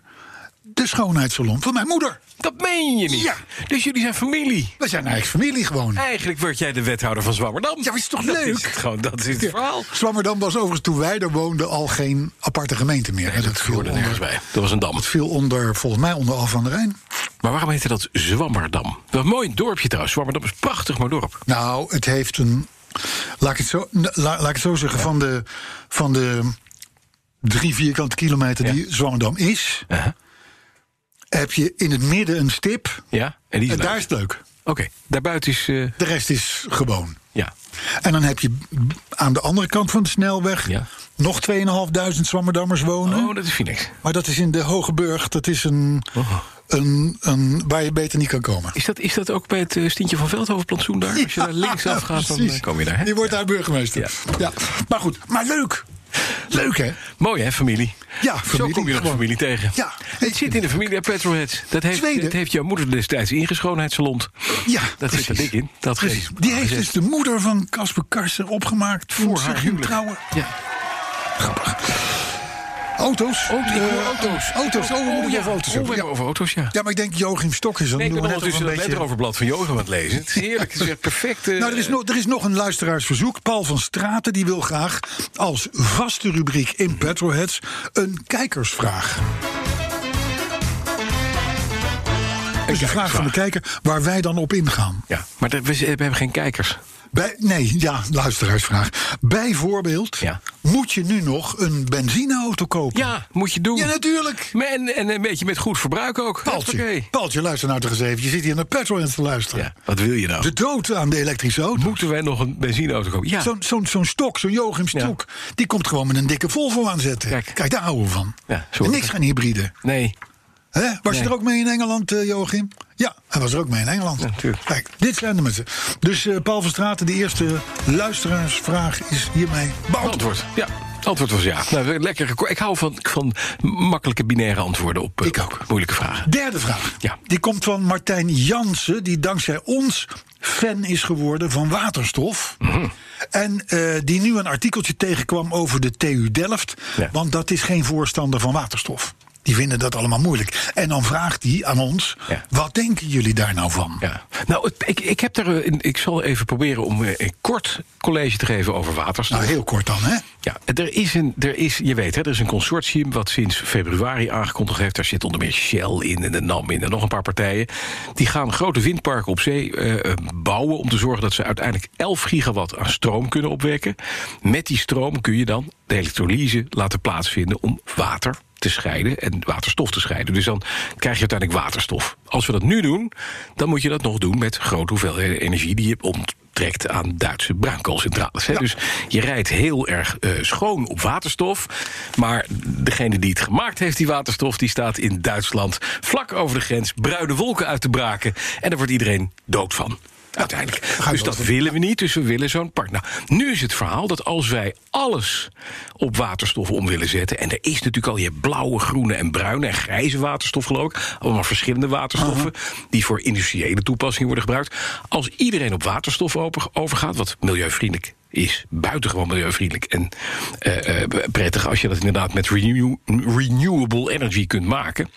Speaker 3: de schoonheidssalon van mijn moeder.
Speaker 2: Dat meen je niet.
Speaker 3: Ja.
Speaker 2: Dus jullie zijn familie.
Speaker 3: We zijn eigen familie gewoon.
Speaker 2: Eigenlijk word jij de wethouder van Zwammerdam. Ja,
Speaker 3: maar is toch
Speaker 2: Dat
Speaker 3: leuk?
Speaker 2: is het, gewoon, dat is het verhaal.
Speaker 3: Zwammerdam was overigens toen wij er woonden al geen aparte gemeente meer. dat, viel
Speaker 2: hoorde nergens
Speaker 3: onder,
Speaker 2: bij. Dat was een dam.
Speaker 3: dat viel onder, volgens mij, onder Al van de Rijn.
Speaker 2: Maar waarom heette dat Zwammerdam? Wat een mooi dorpje trouwens. Zwammerdam is een prachtig mooi dorp.
Speaker 3: Nou, het heeft een. Laat ik het zo, la- laat ik het zo zeggen, van, de, van de drie vierkante kilometer
Speaker 2: Ja.
Speaker 3: die Zwammerdam is,
Speaker 2: Uh-huh.
Speaker 3: heb je in het midden een stip.
Speaker 2: Ja, en die is
Speaker 3: en
Speaker 2: leuk.
Speaker 3: daar is het leuk.
Speaker 2: Oké, daarbuiten is... eh,
Speaker 3: De rest is gewoon.
Speaker 2: ja.
Speaker 3: En dan heb je b- aan de andere kant van de snelweg
Speaker 2: Ja.
Speaker 3: nog 2.500 Zwammerdammers wonen.
Speaker 2: Oh, dat is Phoenix.
Speaker 3: Maar dat is in de Hoge Burg. Dat is een,
Speaker 2: Oh.
Speaker 3: een, een, waar je beter niet kan komen.
Speaker 2: Is dat, is dat ook bij het eh, Stientje van Veldhoven plantsoen daar? Als je daar linksaf gaat, dan
Speaker 3: precies.
Speaker 2: eh, kom je daar. Hè?
Speaker 3: Die wordt daar burgemeester.
Speaker 2: Ja.
Speaker 3: Ja. Maar goed, maar leuk. Leuk, hè?
Speaker 2: Mooi hè, familie?
Speaker 3: Ja, familie,
Speaker 2: Zo kom je nog
Speaker 3: gewoon.
Speaker 2: familie tegen.
Speaker 3: Ja.
Speaker 2: Het zit in de familie bij Petrolheads. Dat heeft,
Speaker 3: Tweede.
Speaker 2: dat heeft jouw moeder destijds ingeschoonheid salon.
Speaker 3: Ja,
Speaker 2: Dat zit er dik in. Dat
Speaker 3: Precies.
Speaker 2: geeft-
Speaker 3: Die heeft
Speaker 2: gezet.
Speaker 3: dus de moeder van Casper Karsen opgemaakt voor haar huwelijk. trouwen.
Speaker 2: Ja.
Speaker 3: Auto's.
Speaker 2: Oh, ik
Speaker 3: Eh,
Speaker 2: hoor auto's.
Speaker 3: Auto's. Oh, we moeten het over
Speaker 2: Oh, we
Speaker 3: auto's hebben.
Speaker 2: hebben
Speaker 3: Ja.
Speaker 2: over auto's, ja.
Speaker 3: Ja, maar ik denk Joachim Stok is dan.
Speaker 2: Nee, ik
Speaker 3: doen
Speaker 2: ben
Speaker 3: we net
Speaker 2: ondertussen
Speaker 3: nog
Speaker 2: dat letteroverblad van Johan aan het lezen. Het is heerlijk. Het is echt perfect. eh,
Speaker 3: Nou, er is, nog, er is nog een luisteraarsverzoek. Paul van Straten die wil graag als vaste rubriek in Petroheads een kijkersvraag. Dus een vraag van de kijker waar wij dan op ingaan.
Speaker 2: Ja, maar dat- we, we hebben geen kijkers.
Speaker 3: Bij, nee, ja, luisteraarsvraag. Bijvoorbeeld,
Speaker 2: Ja.
Speaker 3: moet je nu nog een benzineauto kopen?
Speaker 2: Ja, moet je doen.
Speaker 3: Ja, natuurlijk.
Speaker 2: Maar En, en een beetje met goed verbruik ook.
Speaker 3: Paaltje,
Speaker 2: Oké.
Speaker 3: Paaltje, luister nou toch eens even. Je zit hier naar Petroheads te luisteren.
Speaker 2: Ja, wat wil je nou?
Speaker 3: De dood aan de elektrische auto.
Speaker 2: Moeten wij nog een benzineauto kopen? Ja.
Speaker 3: Zo'n zo'n zo'n stok, zo'n Joachim stok, die komt gewoon met een dikke Volvo aanzetten.
Speaker 2: Kijk.
Speaker 3: Kijk, daar houden we van.
Speaker 2: Ja, zo
Speaker 3: en
Speaker 2: wordt
Speaker 3: niks
Speaker 2: het.
Speaker 3: gaan hybride.
Speaker 2: Nee.
Speaker 3: hè? was
Speaker 2: Nee.
Speaker 3: je er ook mee in Engeland, eh, Joachim? Ja, hij was er ook mee in Engeland.
Speaker 2: tuurlijk.
Speaker 3: Kijk, dit zijn de mensen. Dus eh, Paul van Straten, de eerste luisteraarsvraag is hiermee beantwoord.
Speaker 2: Antwoord. Ja. Antwoord was ja. Nou, lekker. geko- Ik hou van, van makkelijke binaire antwoorden op, eh,
Speaker 3: Ik ook.
Speaker 2: op moeilijke vragen.
Speaker 3: Derde vraag.
Speaker 2: Ja.
Speaker 3: Die komt van Martijn Jansen, die dankzij ons fan is geworden van waterstof.
Speaker 2: Mhm.
Speaker 3: En eh, die nu een artikeltje tegenkwam over de TU Delft.
Speaker 2: Ja.
Speaker 3: Want dat is geen voorstander van waterstof. Die Die vinden dat allemaal moeilijk. En dan vraagt hij aan ons:
Speaker 2: Ja.
Speaker 3: wat denken jullie daar nou van?
Speaker 2: Ja. Nou, het- ik, ik, heb daar, eh, een- ik zal even proberen om eh, een kort college te geven over waterstof.
Speaker 3: Nou, heel kort dan, hè?
Speaker 2: Ja, er is een, er is, je weet, hè, er is een consortium wat sinds februari aangekondigd heeft. Daar zit onder meer Shell in en de NAM in en nog een paar partijen. Die gaan grote windparken op zee eh, eh, bouwen om te zorgen dat ze uiteindelijk 11 gigawatt aan stroom kunnen opwekken. Met die stroom kun je dan de elektrolyse laten plaatsvinden om water te scheiden en waterstof te scheiden. Dus dan krijg je uiteindelijk waterstof. Als we dat nu doen, dan moet je dat nog doen met grote hoeveelheden energie die je onttrekt aan Duitse bruinkoolcentrales. Hè? Dus je rijdt heel erg eh, schoon op waterstof. Maar degene die het gemaakt heeft, die waterstof, die staat in Duitsland vlak over de grens bruine wolken uit te braken. En daar wordt iedereen dood van. Uiteindelijk.
Speaker 3: je
Speaker 2: Dus
Speaker 3: wel
Speaker 2: dat
Speaker 3: van-
Speaker 2: willen we niet, dus we willen zo'n park. Nou, nu is het verhaal dat als wij alles op waterstof om willen zetten... en er is natuurlijk al, je hebt blauwe, groene en bruine en grijze waterstof geloof ik... allemaal verschillende waterstoffen die voor industriële toepassingen worden gebruikt. Als iedereen op waterstof over- overgaat, wat milieuvriendelijk is buitengewoon milieuvriendelijk en eh, eh, prettig... als je dat inderdaad met renew- renewable energy kunt maken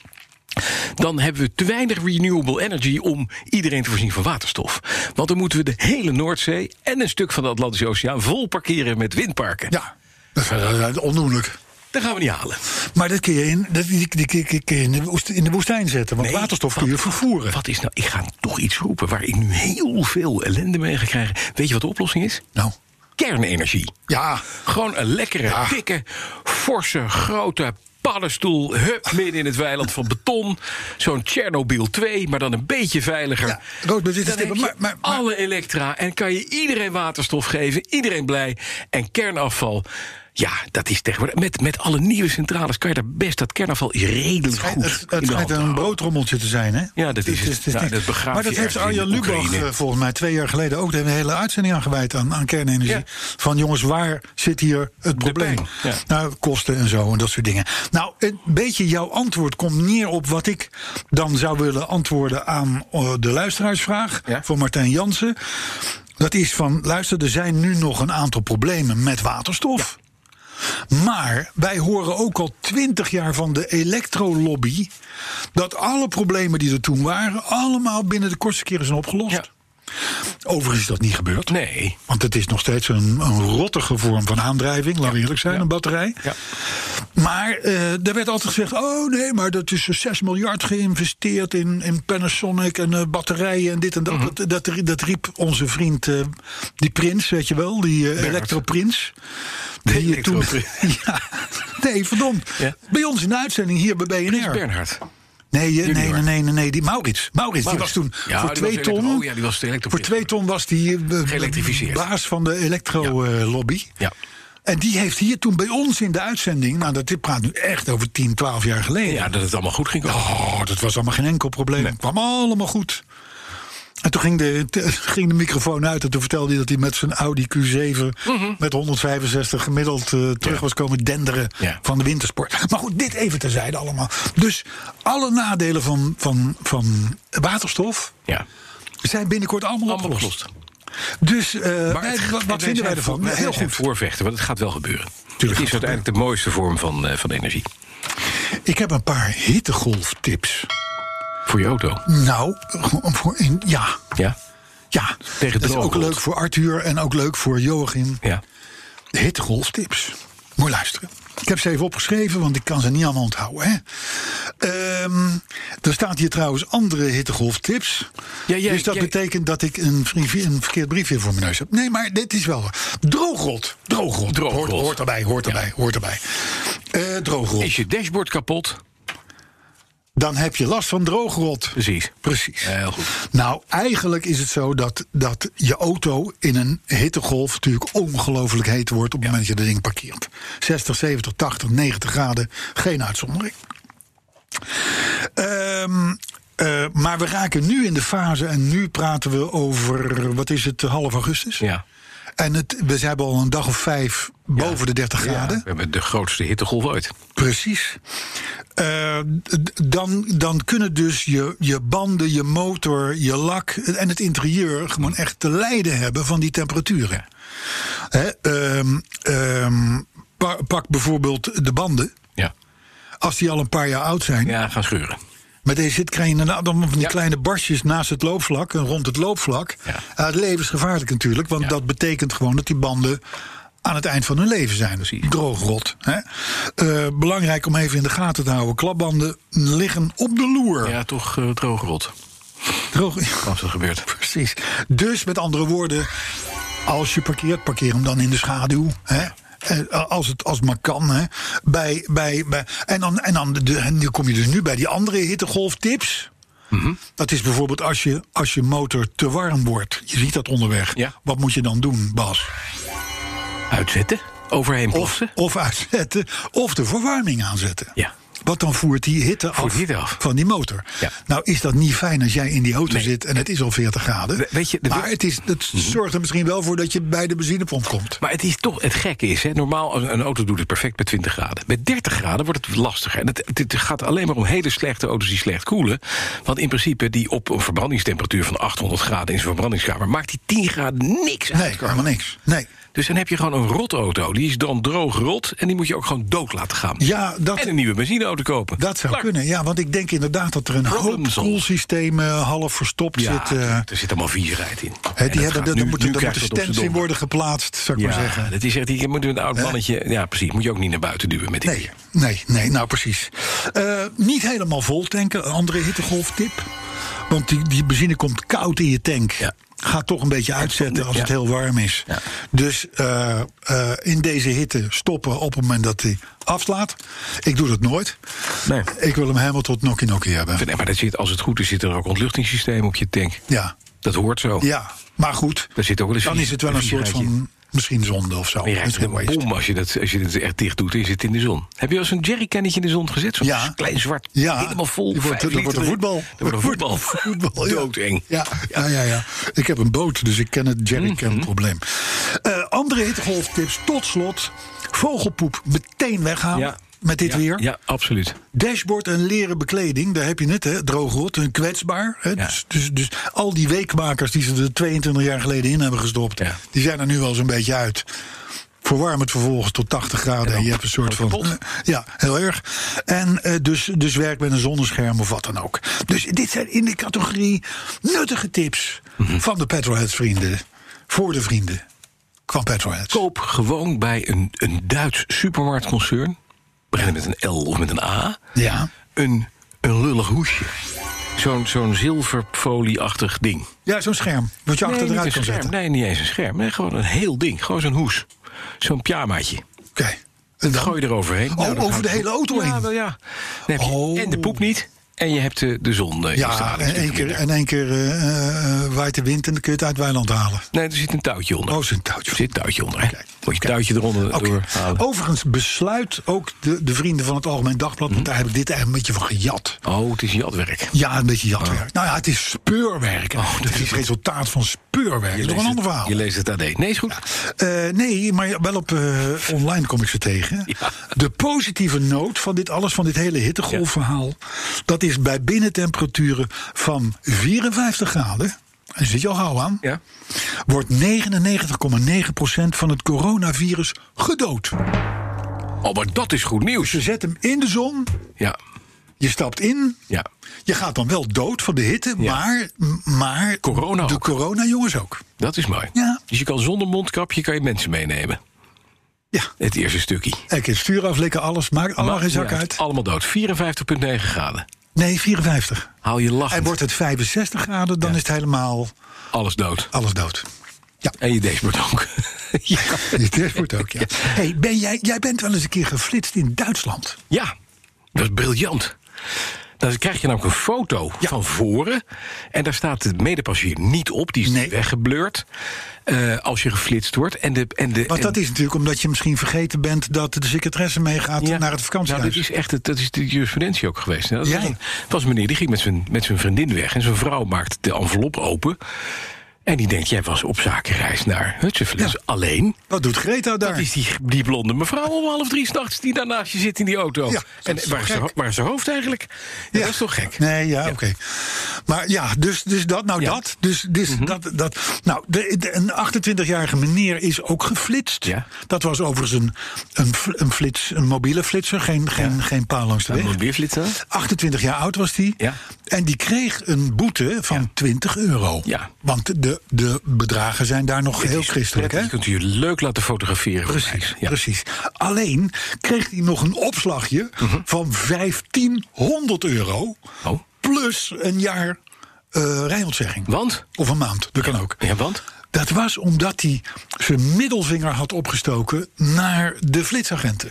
Speaker 2: dan hebben we te weinig renewable energy om iedereen te voorzien van waterstof. Want dan moeten we de hele Noordzee en een stuk van de Atlantische Oceaan vol parkeren met windparken.
Speaker 3: Ja, dat is eh, ondoenlijk.
Speaker 2: Dat gaan we niet halen.
Speaker 3: Maar dat kun je in, dat, die, die- die- die kun je in, de, woest- in de woestijn zetten. Want
Speaker 2: Nee,
Speaker 3: waterstof kun je
Speaker 2: wat-
Speaker 3: vervoeren.
Speaker 2: Wat is nou? Ik ga toch iets roepen waar ik nu heel veel ellende mee ga krijgen. Weet je wat de oplossing is?
Speaker 3: Nou,
Speaker 2: Kernenergie.
Speaker 3: ja.
Speaker 2: Gewoon een lekkere,
Speaker 3: Ah.
Speaker 2: dikke, forse, grote paddenstoel. Hup, midden in het weiland van beton. Zo'n Tsjernobyl 2, maar dan een beetje veiliger.
Speaker 3: Ja, rood met witte
Speaker 2: Dan
Speaker 3: stippen,
Speaker 2: heb
Speaker 3: maar-
Speaker 2: je
Speaker 3: maar- maar-
Speaker 2: alle elektra en kan je iedereen waterstof geven. Iedereen blij. En kernafval... Ja, dat is tegenwoordig. Met, met alle nieuwe centrales kan je daar best. Dat kernafval is redelijk goed.
Speaker 3: Het,
Speaker 2: in
Speaker 3: het
Speaker 2: de hand
Speaker 3: schijnt
Speaker 2: te
Speaker 3: een
Speaker 2: houden.
Speaker 3: broodrommeltje te zijn, hè?
Speaker 2: Ja, dat is het.
Speaker 3: is
Speaker 2: Ja,
Speaker 3: niks.
Speaker 2: dat begraaf
Speaker 3: maar
Speaker 2: je
Speaker 3: dat heeft
Speaker 2: ergens in
Speaker 3: Arjan Lubach
Speaker 2: Oekraïne.
Speaker 3: eh, volgens mij twee jaar geleden ook... daar hebben we een hele uitzending aan gewijd aan, aan kernenergie.
Speaker 2: Ja.
Speaker 3: Van jongens, waar zit hier het probleem?
Speaker 2: pijn, ja.
Speaker 3: Nou, kosten en zo en dat soort dingen. Nou, een beetje jouw antwoord komt neer op wat ik dan zou willen antwoorden... aan eh, de luisteraarsvraag
Speaker 2: Ja.
Speaker 3: van Martijn Jansen. Dat is van, luister, er zijn nu nog een aantal problemen met waterstof... Maar wij horen ook al twintig jaar van de elektrolobby. dat alle problemen die er toen waren. allemaal binnen de kortste keren zijn opgelost.
Speaker 2: Ja.
Speaker 3: Overigens is dat niet gebeurd.
Speaker 2: Nee.
Speaker 3: Want het is nog steeds een, een rottige vorm van aandrijving, laten we eerlijk zijn, een batterij.
Speaker 2: Ja.
Speaker 3: Maar eh er werd altijd gezegd: oh nee, maar dat is 6 miljard geïnvesteerd in, in Panasonic en eh, batterijen en dit en dat. dat, dat. rie- dat riep onze vriend, eh, die prins, weet je wel, die eh, elektroprins. Die je toen. [laughs] ja, nee, verdomd.
Speaker 2: Ja.
Speaker 3: Bij ons in de uitzending hier bij BNR.
Speaker 2: Prins Bernhard.
Speaker 3: Nee, eh, nee,
Speaker 2: Junior.
Speaker 3: nee, nee, nee, nee, die Maurits. Maurits, die was
Speaker 2: Maurits.
Speaker 3: toen
Speaker 2: Ja,
Speaker 3: voor
Speaker 2: die
Speaker 3: twee
Speaker 2: was elektro-
Speaker 3: ton.
Speaker 2: oh ja, die was de
Speaker 3: voor
Speaker 2: elektroprins.
Speaker 3: twee ton was die eh,
Speaker 2: Geëlektrificeerd.
Speaker 3: baas van de elektrolobby.
Speaker 2: Ja.
Speaker 3: En die heeft hier toen bij ons in de uitzending, nou dat dit praat nu echt over 10, 12 jaar geleden.
Speaker 2: Ja, dat het allemaal goed ging. komen.
Speaker 3: Oh, dat was allemaal geen enkel probleem. Het kwam allemaal goed. En toen ging de, t- ging de microfoon uit en toen vertelde hij dat hij met zijn Audi Q7
Speaker 2: Mhm.
Speaker 3: met 165 gemiddeld eh, terug was komen denderen
Speaker 2: Ja.
Speaker 3: van de wintersport. Maar goed, dit even terzijde allemaal. Dus alle nadelen van, van, van waterstof
Speaker 2: Ja.
Speaker 3: zijn binnenkort allemaal,
Speaker 2: Allemaal
Speaker 3: opgelost.
Speaker 2: opgelost.
Speaker 3: Dus eh,
Speaker 2: Maar
Speaker 3: wij-
Speaker 2: het-
Speaker 3: wat,
Speaker 2: wij
Speaker 3: wat vinden wij
Speaker 2: zijn
Speaker 3: ervan?
Speaker 2: voor- wij
Speaker 3: Heel
Speaker 2: zijn
Speaker 3: goed.
Speaker 2: Voorvechten, want het gaat wel gebeuren.
Speaker 3: Tuurlijk
Speaker 2: het is
Speaker 3: gaat het
Speaker 2: uiteindelijk de mooiste vorm van, eh, van energie.
Speaker 3: Ik heb een paar hittegolftips.
Speaker 2: Voor je auto.
Speaker 3: Nou, voor in, ja,
Speaker 2: Ja?
Speaker 3: ja.
Speaker 2: Tegen
Speaker 3: dat is ook
Speaker 2: droogte.
Speaker 3: leuk voor Arthur en ook leuk voor Joachim.
Speaker 2: Ja.
Speaker 3: De hittegolftips. Moet je luisteren. Ik heb ze even opgeschreven, want ik kan ze niet allemaal onthouden. Hè? Ehm, er staat hier trouwens andere hittegolftips.
Speaker 2: Ja, jij-
Speaker 3: dus dat
Speaker 2: jij-
Speaker 3: betekent dat ik een, vri- een verkeerd briefje voor mijn neus heb. Nee, maar dit is wel... waar. Droogrot. Droogrot.
Speaker 2: Droogrot.
Speaker 3: Hoort, hoort erbij, hoort erbij, hoort erbij. Eh, droogrot.
Speaker 2: Is je dashboard kapot?
Speaker 3: Dan heb je last van droogrot.
Speaker 2: Precies.
Speaker 3: Precies.
Speaker 2: Heel goed.
Speaker 3: Nou, eigenlijk is het zo dat, dat je auto in een hittegolf natuurlijk ongelooflijk heet wordt op het moment dat je dat ding parkeert. 60, 70, 80, 90 graden, geen uitzondering. Ehm, eh, maar we raken nu in de fase en nu praten we over, wat is het, half augustus?
Speaker 2: Ja.
Speaker 3: En het, we zijn al een dag of vijf boven de 30 graden.
Speaker 2: We hebben de grootste hittegolf ooit.
Speaker 3: Precies. Eh, d- dan, dan kunnen dus je, je banden, je motor, je lak en het interieur gewoon echt te lijden hebben van die temperaturen. Hè, ehm, ehm, pa- pak bijvoorbeeld de banden.
Speaker 2: Ja.
Speaker 3: als die al een paar jaar oud zijn.
Speaker 2: Ja, gaan scheuren.
Speaker 3: Met deze zit krijg je inderdaad allemaal van die
Speaker 2: Ja.
Speaker 3: kleine barstjes naast het loopvlak en rond het loopvlak.
Speaker 2: Ja.
Speaker 3: Eh, het levensgevaarlijk natuurlijk, want
Speaker 2: Ja.
Speaker 3: dat betekent gewoon dat die banden aan het eind van hun leven zijn. Dus
Speaker 2: Precies.
Speaker 3: Droogrot. Hè? Eh, belangrijk om even in de gaten te houden. Klapbanden liggen op de loer.
Speaker 2: Ja, toch eh, droogrot.
Speaker 3: Droog...
Speaker 2: Als dat gebeurt.
Speaker 3: [laughs] Precies. Dus met andere woorden, als je parkeert, parkeer hem dan in de schaduw. Hè? Eh, Als het, als het maar kan. Hè? Bij, bij, bij, en dan, en dan, de, en dan kom je dus nu bij die andere hittegolftips. Dat is bijvoorbeeld als je, als je motor te warm wordt. Je ziet dat onderweg.
Speaker 2: Ja.
Speaker 3: Wat moet je dan doen, Bas?
Speaker 2: Uitzetten. Overheen
Speaker 3: Of,
Speaker 2: plofsen.
Speaker 3: of uitzetten, of de verwarming aanzetten.
Speaker 2: Ja.
Speaker 3: Want dan voert die hitte
Speaker 2: Voert
Speaker 3: af,
Speaker 2: die hitte af.
Speaker 3: van die motor.
Speaker 2: Ja.
Speaker 3: Nou is dat niet fijn als jij in die auto
Speaker 2: Nee.
Speaker 3: zit en het is al 40 graden.
Speaker 2: We- Mhm. weet je, de-
Speaker 3: maar het, is, het zorgt er misschien wel voor dat je bij de benzinepomp komt.
Speaker 2: Maar het is toch, het gekke is, hè, normaal een een auto doet het perfect bij 20 graden. Bij 30 graden wordt het lastiger. En het, het- het gaat alleen maar om hele slechte auto's die slecht koelen. Want in principe, die op een verbrandingstemperatuur van 800 graden in zijn verbrandingskamer... maakt die 10 graden niks uit.
Speaker 3: Nee, helemaal niks. Nee.
Speaker 2: Dus dan heb je gewoon een rotauto. Die is dan droog rot en die moet je ook gewoon dood laten gaan.
Speaker 3: Ja, dat,
Speaker 2: En een nieuwe benzineauto kopen.
Speaker 3: dat zou
Speaker 2: Klaar.
Speaker 3: kunnen. Ja, want ik denk inderdaad dat er een
Speaker 2: Problem
Speaker 3: hoop
Speaker 2: solved.
Speaker 3: koelsystemen eh, half verstopt
Speaker 2: Ja,
Speaker 3: zit. eh,
Speaker 2: er zit allemaal vierheid in.
Speaker 3: hè, die
Speaker 2: gaat
Speaker 3: hebben, daar
Speaker 2: nu- nu
Speaker 3: moeten, daar
Speaker 2: krijgt dat op
Speaker 3: moeten
Speaker 2: z'n
Speaker 3: stands in
Speaker 2: donder.
Speaker 3: worden geplaatst, zou ik maar zeggen.
Speaker 2: Ja, dat is echt, je moet een oud mannetje... Ja, precies, moet je ook niet naar buiten duwen met die
Speaker 3: Nee,
Speaker 2: dingen.
Speaker 3: nee, nee, nou precies. Eh, niet helemaal vol tanken, een andere hittegolftip. Want die, die benzine komt koud in je tank.
Speaker 2: Ja.
Speaker 3: Gaat toch een beetje uitzetten als
Speaker 2: Ja.
Speaker 3: het heel warm is.
Speaker 2: Ja.
Speaker 3: Dus eh, eh, in deze hitte stoppen op het moment dat hij afslaat. Ik doe dat nooit.
Speaker 2: Nee. Ik
Speaker 3: Ik wil hem helemaal tot Nokkie Nokkie hebben.
Speaker 2: vind- Maar dat zit, als het goed is, zit er ook ontluchtingssysteem op je tank.
Speaker 3: Ja,
Speaker 2: Dat hoort zo.
Speaker 3: ja, maar goed.
Speaker 2: Daar zit ook wel eens
Speaker 3: Dan
Speaker 2: vies-
Speaker 3: is het wel een soort
Speaker 2: viesheid in.
Speaker 3: van misschien zonde of zo.
Speaker 2: Maar je rijdt
Speaker 3: Misschien
Speaker 2: een
Speaker 3: waste.
Speaker 2: bom als je, dat, als je dat echt dicht doet en je zit in de zon. Heb je wel eens een jerrycannetje in de zon gezet? Zo'n
Speaker 3: Ja.
Speaker 2: klein zwart,
Speaker 3: Ja.
Speaker 2: helemaal vol.
Speaker 3: Die wordt-
Speaker 2: vijf
Speaker 3: dat wordt
Speaker 2: liter
Speaker 3: een
Speaker 2: erin.
Speaker 3: voetbal.
Speaker 2: Dat wordt een voetbal.
Speaker 3: [laughs] voetbal.
Speaker 2: [laughs]
Speaker 3: ja.
Speaker 2: Doodeng. Mhm.
Speaker 3: Ja. Ja. ja, ja. Ik heb een boot, dus ik ken het jerrycan-probleem. Eh, andere hittegolftips, tot slot. Vogelpoep meteen weghalen
Speaker 2: Ja.
Speaker 3: met dit
Speaker 2: Ja,
Speaker 3: weer.
Speaker 2: Ja, absoluut.
Speaker 3: Dashboard en leren bekleding, daar heb je het, hè? Droogrot en kwetsbaar. Hè? Dus, dus, dus al die weekmakers die ze er 22 jaar geleden in hebben gestopt,
Speaker 2: Ja.
Speaker 3: die zijn er nu wel eens een beetje uit. Verwarm het vervolgens tot 80 graden en, je hebt een soort van. Ja, heel erg. En eh, dus, dus werk met een zonnescherm of wat dan ook. Dus dit zijn in de categorie nuttige tips
Speaker 2: Mhm.
Speaker 3: van de Petrolheads vrienden. Voor de vrienden van Petrolheads.
Speaker 2: Koop gewoon bij een, een Duits supermarktconcern. Beginnen met een L of met een A.
Speaker 3: Ja.
Speaker 2: Een, een lullig hoesje. Zo'n zo'n zilverfolieachtig ding.
Speaker 3: ja, zo'n scherm. Wat je achter
Speaker 2: nee, niet
Speaker 3: achteruit
Speaker 2: een
Speaker 3: kan
Speaker 2: scherm.
Speaker 3: zetten.
Speaker 2: Nee, niet eens een scherm. Nee, gewoon een heel ding. Gewoon zo'n hoes. Zo'n pyjamaatje.
Speaker 3: Oké. En dan?
Speaker 2: Gooi je eroverheen. Nou,
Speaker 3: Oh,
Speaker 2: dat
Speaker 3: over
Speaker 2: houdt
Speaker 3: de
Speaker 2: op.
Speaker 3: hele auto
Speaker 2: ja,
Speaker 3: heen.
Speaker 2: Wel, ja. Dan heb je
Speaker 3: Oh.
Speaker 2: En de poep niet. En je hebt de, de zon eh, in je
Speaker 3: Ja,
Speaker 2: straling
Speaker 3: en
Speaker 2: een
Speaker 3: één
Speaker 2: stukje
Speaker 3: keer,
Speaker 2: minder.
Speaker 3: en één keer eh, eh, waait de wind en dan kun je het uit het weiland halen.
Speaker 2: Nee, er zit een touwtje onder.
Speaker 3: Oh, er zit een touwtje.
Speaker 2: Er zit een touwtje onder. hè.
Speaker 3: Oké.
Speaker 2: Moet je het touwtje eronder
Speaker 3: Oké. Oh.
Speaker 2: doorhalen.
Speaker 3: Overigens besluit ook de, de vrienden van het Algemeen Dagblad...
Speaker 2: Mhm.
Speaker 3: want daar heb ik dit eigenlijk een beetje van gejat.
Speaker 2: Oh, het is jatwerk.
Speaker 3: Ja, een beetje jatwerk. Nou ja, het is speurwerk.
Speaker 2: Oh, dat
Speaker 3: het is
Speaker 2: is
Speaker 3: het
Speaker 2: het.
Speaker 3: resultaat van speurwerk. Dat is nog een
Speaker 2: leest
Speaker 3: ander
Speaker 2: het-
Speaker 3: verhaal.
Speaker 2: Je leest het AD. Nee, is goed.
Speaker 3: Eh, nee, maar wel op eh, online kom ik ze tegen.
Speaker 2: [laughs] Ja.
Speaker 3: De positieve noot van dit alles, van dit hele hittegolfverhaal... dat is bij binnentemperaturen van 54 graden... en zit je al gauw aan...
Speaker 2: Ja.
Speaker 3: wordt 99,9% van het coronavirus gedood.
Speaker 2: Oh, maar dat is goed nieuws.
Speaker 3: Je zet hem in de zon,
Speaker 2: Ja,
Speaker 3: je stapt in...
Speaker 2: ja.
Speaker 3: je gaat dan wel dood van de hitte,
Speaker 2: Ja.
Speaker 3: maar, maar...
Speaker 2: Corona
Speaker 3: De
Speaker 2: ook.
Speaker 3: corona-jongens ook.
Speaker 2: dat is mooi.
Speaker 3: Ja.
Speaker 2: Dus je kan zonder mondkapje kan je mensen meenemen.
Speaker 3: Ja,
Speaker 2: Het eerste stukje.
Speaker 3: ik kan stuur aflikken, alles, maakt allemaal geen zak
Speaker 2: ja,
Speaker 3: uit.
Speaker 2: Allemaal dood. 54,9 graden.
Speaker 3: Nee, 54.
Speaker 2: Haal je
Speaker 3: En
Speaker 2: lachend.
Speaker 3: wordt het 65 graden, dan is het helemaal
Speaker 2: Alles dood.
Speaker 3: alles dood. Dus
Speaker 2: En je dashboard ook. [laughs]
Speaker 3: [laughs]
Speaker 2: ja.
Speaker 3: Dit wordt ook, ja. Hey, ben jij, jij bent wel eens een keer geflitst in Duitsland.
Speaker 2: ja, dat is briljant. Dan krijg je namelijk een foto van voren. En daar staat de medepassagier niet op. Die is
Speaker 3: Nee.
Speaker 2: weggeblurred. eh, als je geflitst wordt. En de, en de,
Speaker 3: Want
Speaker 2: en-
Speaker 3: dat is natuurlijk omdat je misschien vergeten bent... dat de secretaresse meegaat
Speaker 2: Ja.
Speaker 3: naar het vakantiehuis.
Speaker 2: Nou, dit is echt, het- dat is de jurisprudentie ook geweest. hè. Dat
Speaker 3: Ja,
Speaker 2: was, een,
Speaker 3: ja.
Speaker 2: was een meneer, die ging met zijn, met zijn vriendin weg. En zijn vrouw maakt de envelop open. En die denkt, jij was op zakenreis naar Hutsenfles
Speaker 3: Ja.
Speaker 2: alleen.
Speaker 3: Wat doet Greta daar?
Speaker 2: Dat is die, die blonde mevrouw om half drie s'nachts die daarnaast je zit in die auto.
Speaker 3: Ja, dat
Speaker 2: en
Speaker 3: is
Speaker 2: waar
Speaker 3: toch
Speaker 2: is, haar,
Speaker 3: gek?
Speaker 2: waar is haar hoofd eigenlijk? Ja, Dat is toch gek?
Speaker 3: Nee, ja, oké. Maar ja, dus, dus dat, nou
Speaker 2: Ja. Mhm.
Speaker 3: dat. Dus, dus dat, dat. Nou, de, de- een 28-jarige meneer is ook geflitst.
Speaker 2: Ja.
Speaker 3: Dat was overigens een, een, fl- een, flits, een mobiele flitser, geen, geen, geen paal langs de weg.
Speaker 2: Mobielflitsen?
Speaker 3: 28 jaar oud was die.
Speaker 2: Ja.
Speaker 3: En die kreeg een boete van 20 euro.
Speaker 2: Ja.
Speaker 3: Want de, de bedragen zijn daar nog heel christelijk.
Speaker 2: Je
Speaker 3: Hè?
Speaker 2: kunt je leuk laten fotograferen.
Speaker 3: Precies,
Speaker 2: Ja.
Speaker 3: precies. Alleen kreeg hij nog een opslagje van 1500 euro.
Speaker 2: Mhm. Oh.
Speaker 3: Plus een jaar eh rijontzegging.
Speaker 2: Want?
Speaker 3: Of een maand, dat kan ook.
Speaker 2: Ja, want?
Speaker 3: Dat was omdat hij zijn middelvinger had opgestoken naar de flitsagenten.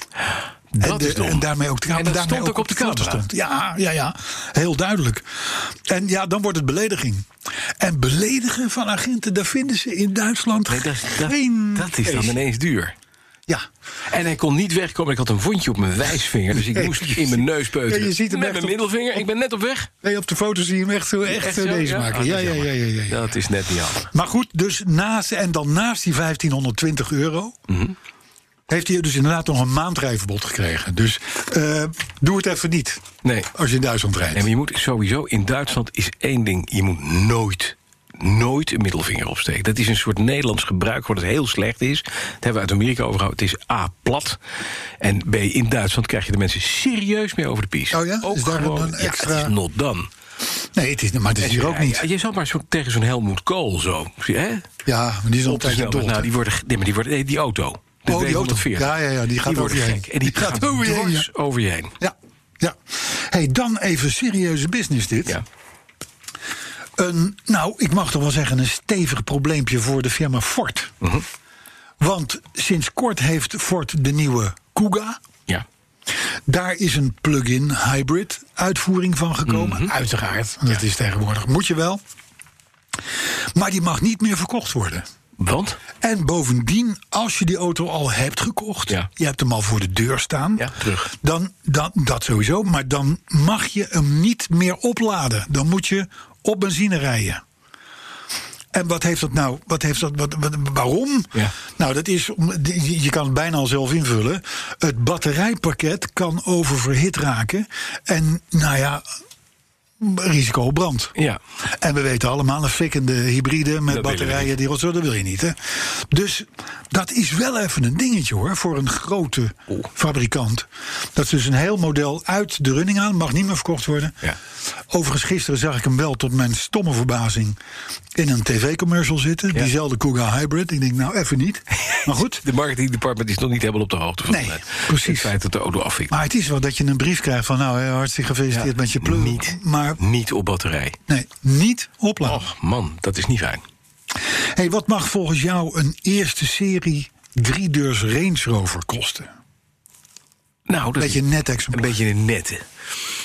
Speaker 3: en,
Speaker 2: Dat is dom.
Speaker 3: en daarmee ook
Speaker 2: En dat
Speaker 3: daarmee
Speaker 2: stond ook op de
Speaker 3: foto
Speaker 2: camera.
Speaker 3: Stond. Ja, ja, ja, heel duidelijk. En ja, dan wordt het belediging. En beledigen van agenten, daar vinden ze in Duitsland
Speaker 2: Nee, dat, is- dat,
Speaker 3: geen.
Speaker 2: dat is dan
Speaker 3: case.
Speaker 2: ineens duur.
Speaker 3: Ja.
Speaker 2: En hij kon niet wegkomen. Ik had een wondje op mijn wijsvinger. Dus ik
Speaker 3: Nee,
Speaker 2: moest
Speaker 3: je
Speaker 2: in mijn
Speaker 3: ziet-
Speaker 2: neus peuteren.
Speaker 3: Ja, je ziet hem
Speaker 2: Met
Speaker 3: echt
Speaker 2: mijn
Speaker 3: op-
Speaker 2: middelvinger. Ik ben net op weg.
Speaker 3: Nee, op de foto zie je hem echt, zo, echt,
Speaker 2: Echt
Speaker 3: zo
Speaker 2: zo,
Speaker 3: deze maken.
Speaker 2: Ah,
Speaker 3: Ja,
Speaker 2: dat is
Speaker 3: ja, ja,
Speaker 2: jammer.
Speaker 3: ja, ja, ja.
Speaker 2: Dat is net niet handig.
Speaker 3: Maar goed, dus naast, en dan naast die 1520 euro.
Speaker 2: Mhm.
Speaker 3: Heeft hij dus inderdaad nog een maandrijverbod gekregen. Dus eh, doe het even niet.
Speaker 2: Nee.
Speaker 3: Als je in Duitsland rijdt.
Speaker 2: Nee, maar je moet sowieso, in Duitsland is één ding, je moet nooit, nooit een middelvinger opsteken. Dat is een soort Nederlands gebruik wat het heel slecht is. Dat hebben we uit Amerika overgehouden. Het is A, plat. En B, in Duitsland krijg je de mensen serieus mee over de pies.
Speaker 3: Oh ja?
Speaker 2: Ook
Speaker 3: Is daar
Speaker 2: gewoon,
Speaker 3: dan een extra-
Speaker 2: Ja, het is not done.
Speaker 3: Nee, het is, maar het is hier ook
Speaker 2: Ja,
Speaker 3: niet.
Speaker 2: je zat maar zo, tegen zo'n Helmoet Kool zo. Zie je, Hè?
Speaker 3: Ja, maar die is al een
Speaker 2: Op de
Speaker 3: tijdje
Speaker 2: snelweg.
Speaker 3: dood.
Speaker 2: Nou,
Speaker 3: hè?
Speaker 2: die worden, ge- nee, maar die worden, nee, die auto. De
Speaker 3: Oh, die auto.
Speaker 2: 240.
Speaker 3: Ja, ja, ja, die gaat over
Speaker 2: worden
Speaker 3: je heen.
Speaker 2: gek. En die,
Speaker 3: Die
Speaker 2: gaat
Speaker 3: gaat over je heen,
Speaker 2: dwars over je heen.
Speaker 3: Ja, ja. hey, dan even serieuze business dit.
Speaker 2: Ja.
Speaker 3: Een, nou, ik mag toch wel zeggen een stevig probleempje voor de firma Ford.
Speaker 2: Mhm.
Speaker 3: Want sinds kort heeft Ford de nieuwe Kuga.
Speaker 2: ja.
Speaker 3: Daar is een plug-in hybrid uitvoering van gekomen. Uiteraard, dat is tegenwoordig. Moet je wel. Maar die mag niet meer verkocht worden.
Speaker 2: Want?
Speaker 3: En bovendien, als je die auto al hebt gekocht,
Speaker 2: Ja.
Speaker 3: je hebt hem al voor de deur staan,
Speaker 2: Ja, terug.
Speaker 3: Dan, dan dat sowieso, maar dan mag je hem niet meer opladen. Dan moet je op benzine rijden. En wat heeft dat nou? Wat heeft dat, wat, wat- waarom?
Speaker 2: Ja.
Speaker 3: Nou, dat is, om- je je kan het bijna al zelf invullen. Het batterijpakket kan oververhit raken. En nou ja, risico op brand.
Speaker 2: Ja.
Speaker 3: En we weten allemaal, een fikkende hybride met
Speaker 2: Dat willen we
Speaker 3: batterijen, die rotzooi, dat wil je niet. Hè? Dus dat is wel even een dingetje hoor, voor een grote fabrikant. Dat is dus een heel model uit de running aan, mag niet meer verkocht worden.
Speaker 2: Ja.
Speaker 3: Overigens, gisteren zag ik hem wel tot mijn stomme verbazing in een tv-commercial zitten.
Speaker 2: Ja.
Speaker 3: Diezelfde Kuga Hybrid. Ik denk, nou even
Speaker 2: [laughs]
Speaker 3: niet. Maar goed.
Speaker 2: De marketing department is nog niet helemaal op de hoogte van
Speaker 3: Nee,
Speaker 2: het,
Speaker 3: precies.
Speaker 2: het feit dat de auto afvikt.
Speaker 3: Maar het is wel dat je een brief krijgt van, nou hè, hartstikke gefeliciteerd
Speaker 2: Ja,
Speaker 3: met je plug.
Speaker 2: Niet,
Speaker 3: Maar
Speaker 2: niet op batterij.
Speaker 3: nee, niet opladen.
Speaker 2: Och man, dat is niet fijn.
Speaker 3: Hey, wat mag volgens jou een eerste serie driedeurs Range Rover kosten?
Speaker 2: Nou, dat
Speaker 3: Beetje
Speaker 2: is
Speaker 3: een net
Speaker 2: een
Speaker 3: exemplaar.
Speaker 2: beetje een nette.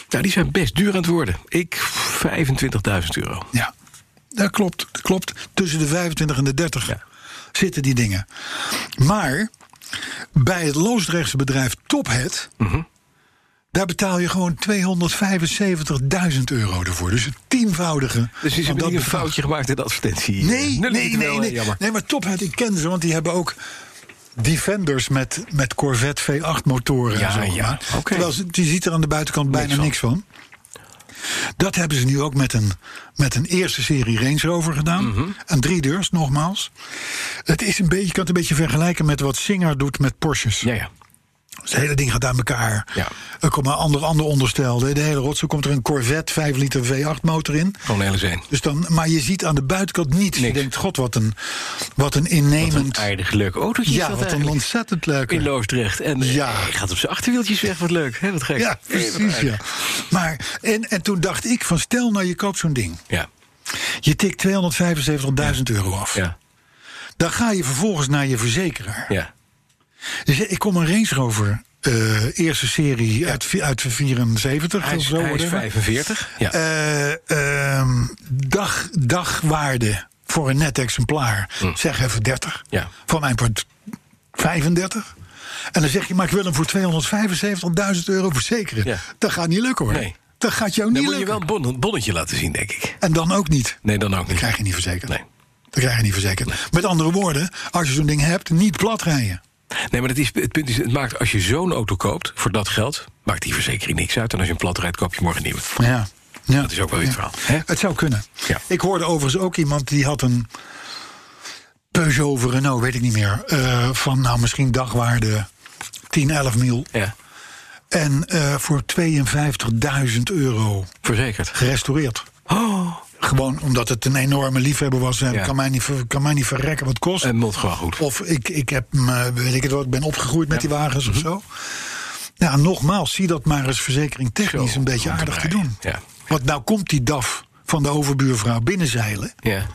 Speaker 2: Nou, die zijn best duur aan het worden. Ik 25.000 euro.
Speaker 3: Ja, dat klopt, dat klopt. Tussen de 25 en de 30
Speaker 2: Ja.
Speaker 3: zitten die dingen. Maar bij het Loosdrechtse bedrijf Tophead...
Speaker 2: Mhm.
Speaker 3: daar betaal je gewoon 275.000 euro ervoor. Dus het tienvoudige
Speaker 2: Dus ze
Speaker 3: van
Speaker 2: hebben
Speaker 3: Oh, dat
Speaker 2: niet een
Speaker 3: bedrag.
Speaker 2: foutje gemaakt in de advertentie.
Speaker 3: Nee,
Speaker 2: Nul
Speaker 3: nee,
Speaker 2: liter wel,
Speaker 3: nee,
Speaker 2: hè,
Speaker 3: nee.
Speaker 2: Jammer.
Speaker 3: Nee, maar Tophead, ik ken ze, want die hebben ook Defenders met, met Corvette V8 motoren
Speaker 2: Ja,
Speaker 3: en zo.
Speaker 2: ja,
Speaker 3: gemaakt.
Speaker 2: oké.
Speaker 3: Terwijl ze, die ziet er aan de buitenkant bijna
Speaker 2: van.
Speaker 3: niks van. Dat hebben ze nu ook met een, met een eerste serie Range Rover gedaan.
Speaker 2: Mhm.
Speaker 3: Een drie deurs, nogmaals. Het is een beetje, je kan het een beetje vergelijken met wat Singer doet met Porsches.
Speaker 2: Ja, ja.
Speaker 3: Dus het hele ding gaat aan elkaar.
Speaker 2: Ja.
Speaker 3: Er komt een ander, ander onderstel. De de hele rotzooi komt er een Corvette 5 liter V8 motor in.
Speaker 2: Gewoon hele zijn.
Speaker 3: Dus dan, maar je ziet aan de buitenkant niets. Je
Speaker 2: Niks.
Speaker 3: denkt, god, wat een, wat een innemend...
Speaker 2: Een aardig leuk autootje is
Speaker 3: ja,
Speaker 2: dat
Speaker 3: wat een
Speaker 2: eigenlijk.
Speaker 3: ontzettend leuk.
Speaker 2: In Loosdrecht. En eh,
Speaker 3: Ja.
Speaker 2: hij gaat op zijn achterwieltjes weg. Wat leuk, hè? Wat gek.
Speaker 3: Ja, precies, ja. Maar, en, en toen dacht ik van, stel nou je koopt zo'n ding.
Speaker 2: Ja,
Speaker 3: Je tikt 275.000 euro af.
Speaker 2: ja,
Speaker 3: Dan ga je vervolgens naar je verzekeraar. Dus
Speaker 2: ja.
Speaker 3: Je zegt, ik kom een Range Rover, eh, eerste serie uit, vi- uit 74
Speaker 2: Hij
Speaker 3: of
Speaker 2: is,
Speaker 3: zo.
Speaker 2: hij is
Speaker 3: whatever.
Speaker 2: 45. Ja.
Speaker 3: Eh, ehm, dag, dagwaarde voor een net exemplaar. Zeg even 30.
Speaker 2: Mm. Ja.
Speaker 3: Van mijn part 35. En dan zeg je, maar ik wil hem voor 275.000 euro verzekeren.
Speaker 2: Ja.
Speaker 3: Dat gaat niet lukken hoor.
Speaker 2: Nee.
Speaker 3: Dat gaat jou
Speaker 2: Dan
Speaker 3: niet
Speaker 2: moet je
Speaker 3: lukken.
Speaker 2: wel een bon- bonnetje laten zien, denk ik.
Speaker 3: En dan ook niet.
Speaker 2: Nee, dan ook
Speaker 3: Dat
Speaker 2: niet.
Speaker 3: krijg je niet verzekerd.
Speaker 2: Nee.
Speaker 3: Dat krijg je niet verzekerd. Met andere woorden, als je zo'n ding hebt, niet plat rijden.
Speaker 2: Nee, maar het, is, het punt is, het maakt, als je zo'n auto koopt voor dat geld, maakt die verzekering niks uit. En als je een plat rijdt, koop je morgen een nieuwe.
Speaker 3: Ja. Ja.
Speaker 2: Dat is ook wel weer het verhaal. Hè?
Speaker 3: Het zou kunnen.
Speaker 2: Ja.
Speaker 3: Ik hoorde overigens ook iemand die had een Peugeot voor Renault, weet ik niet meer. eh, van nou misschien dagwaarde 10, 11 mil.
Speaker 2: Ja,
Speaker 3: En eh, voor 52.000 euro
Speaker 2: verzekerd.
Speaker 3: gerestaureerd.
Speaker 2: Oh,
Speaker 3: Gewoon omdat het een enorme liefhebber was. en
Speaker 2: Ja.
Speaker 3: Kan, mij niet, ver- kan mij niet verrekken wat het kost.
Speaker 2: en mond gewoon goed.
Speaker 3: Of ik, ik heb, hem, eh, weet ik het wel, ik ben opgegroeid met die wagens
Speaker 2: Mhm.
Speaker 3: of zo. Ja, nogmaals, zie dat maar eens verzekering technisch
Speaker 2: Zo,
Speaker 3: een beetje
Speaker 2: rond te
Speaker 3: aardig te
Speaker 2: draaien.
Speaker 3: doen.
Speaker 2: Ja.
Speaker 3: Want nou komt die DAF van de overbuurvrouw binnenzeilen.
Speaker 2: Ja,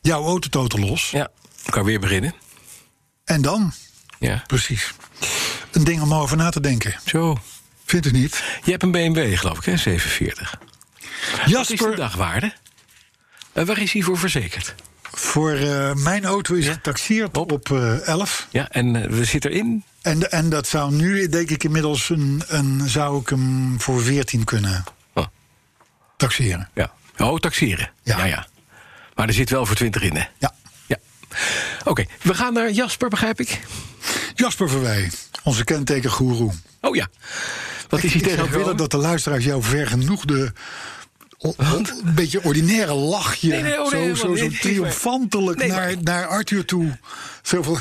Speaker 3: Jouw auto totaal los.
Speaker 2: ja. kan weer beginnen.
Speaker 3: En dan?
Speaker 2: Ja,
Speaker 3: Precies. Een ding om over na te denken.
Speaker 2: zo.
Speaker 3: Vindt u niet?
Speaker 2: Je hebt een BMW, geloof ik, hè? 740. Wat is de
Speaker 3: Jasper,
Speaker 2: dagwaarde? En waar is hij voor verzekerd?
Speaker 3: voor eh, mijn auto is getaxeerd op, eh, 11.
Speaker 2: Ja, en eh, we zitten erin.
Speaker 3: En, en dat zou nu, denk ik, inmiddels een, een, zou ik hem voor 14 kunnen
Speaker 2: Oh,
Speaker 3: taxeren.
Speaker 2: ja. Oh, taxeren.
Speaker 3: Ja.
Speaker 2: ja, Maar er zit wel voor 20 in, hè?
Speaker 3: Ja.
Speaker 2: Ja. Oké, we gaan naar Jasper, begrijp ik.
Speaker 3: Jasper Verwij, onze kentekengoeroe.
Speaker 2: Oh ja. Wat is
Speaker 3: Ik
Speaker 2: hij
Speaker 3: zou
Speaker 2: tegengekomen?
Speaker 3: willen dat de luisteraars jou vergenoegde... o- o- een beetje ordinaire lachje.
Speaker 2: Nee, nee, oh, nee,
Speaker 3: zo, zo,
Speaker 2: man,
Speaker 3: zo
Speaker 2: nee, nee,
Speaker 3: triomfantelijk
Speaker 2: nee,
Speaker 3: naar,
Speaker 2: maar-
Speaker 3: naar Arthur toe. Zo van,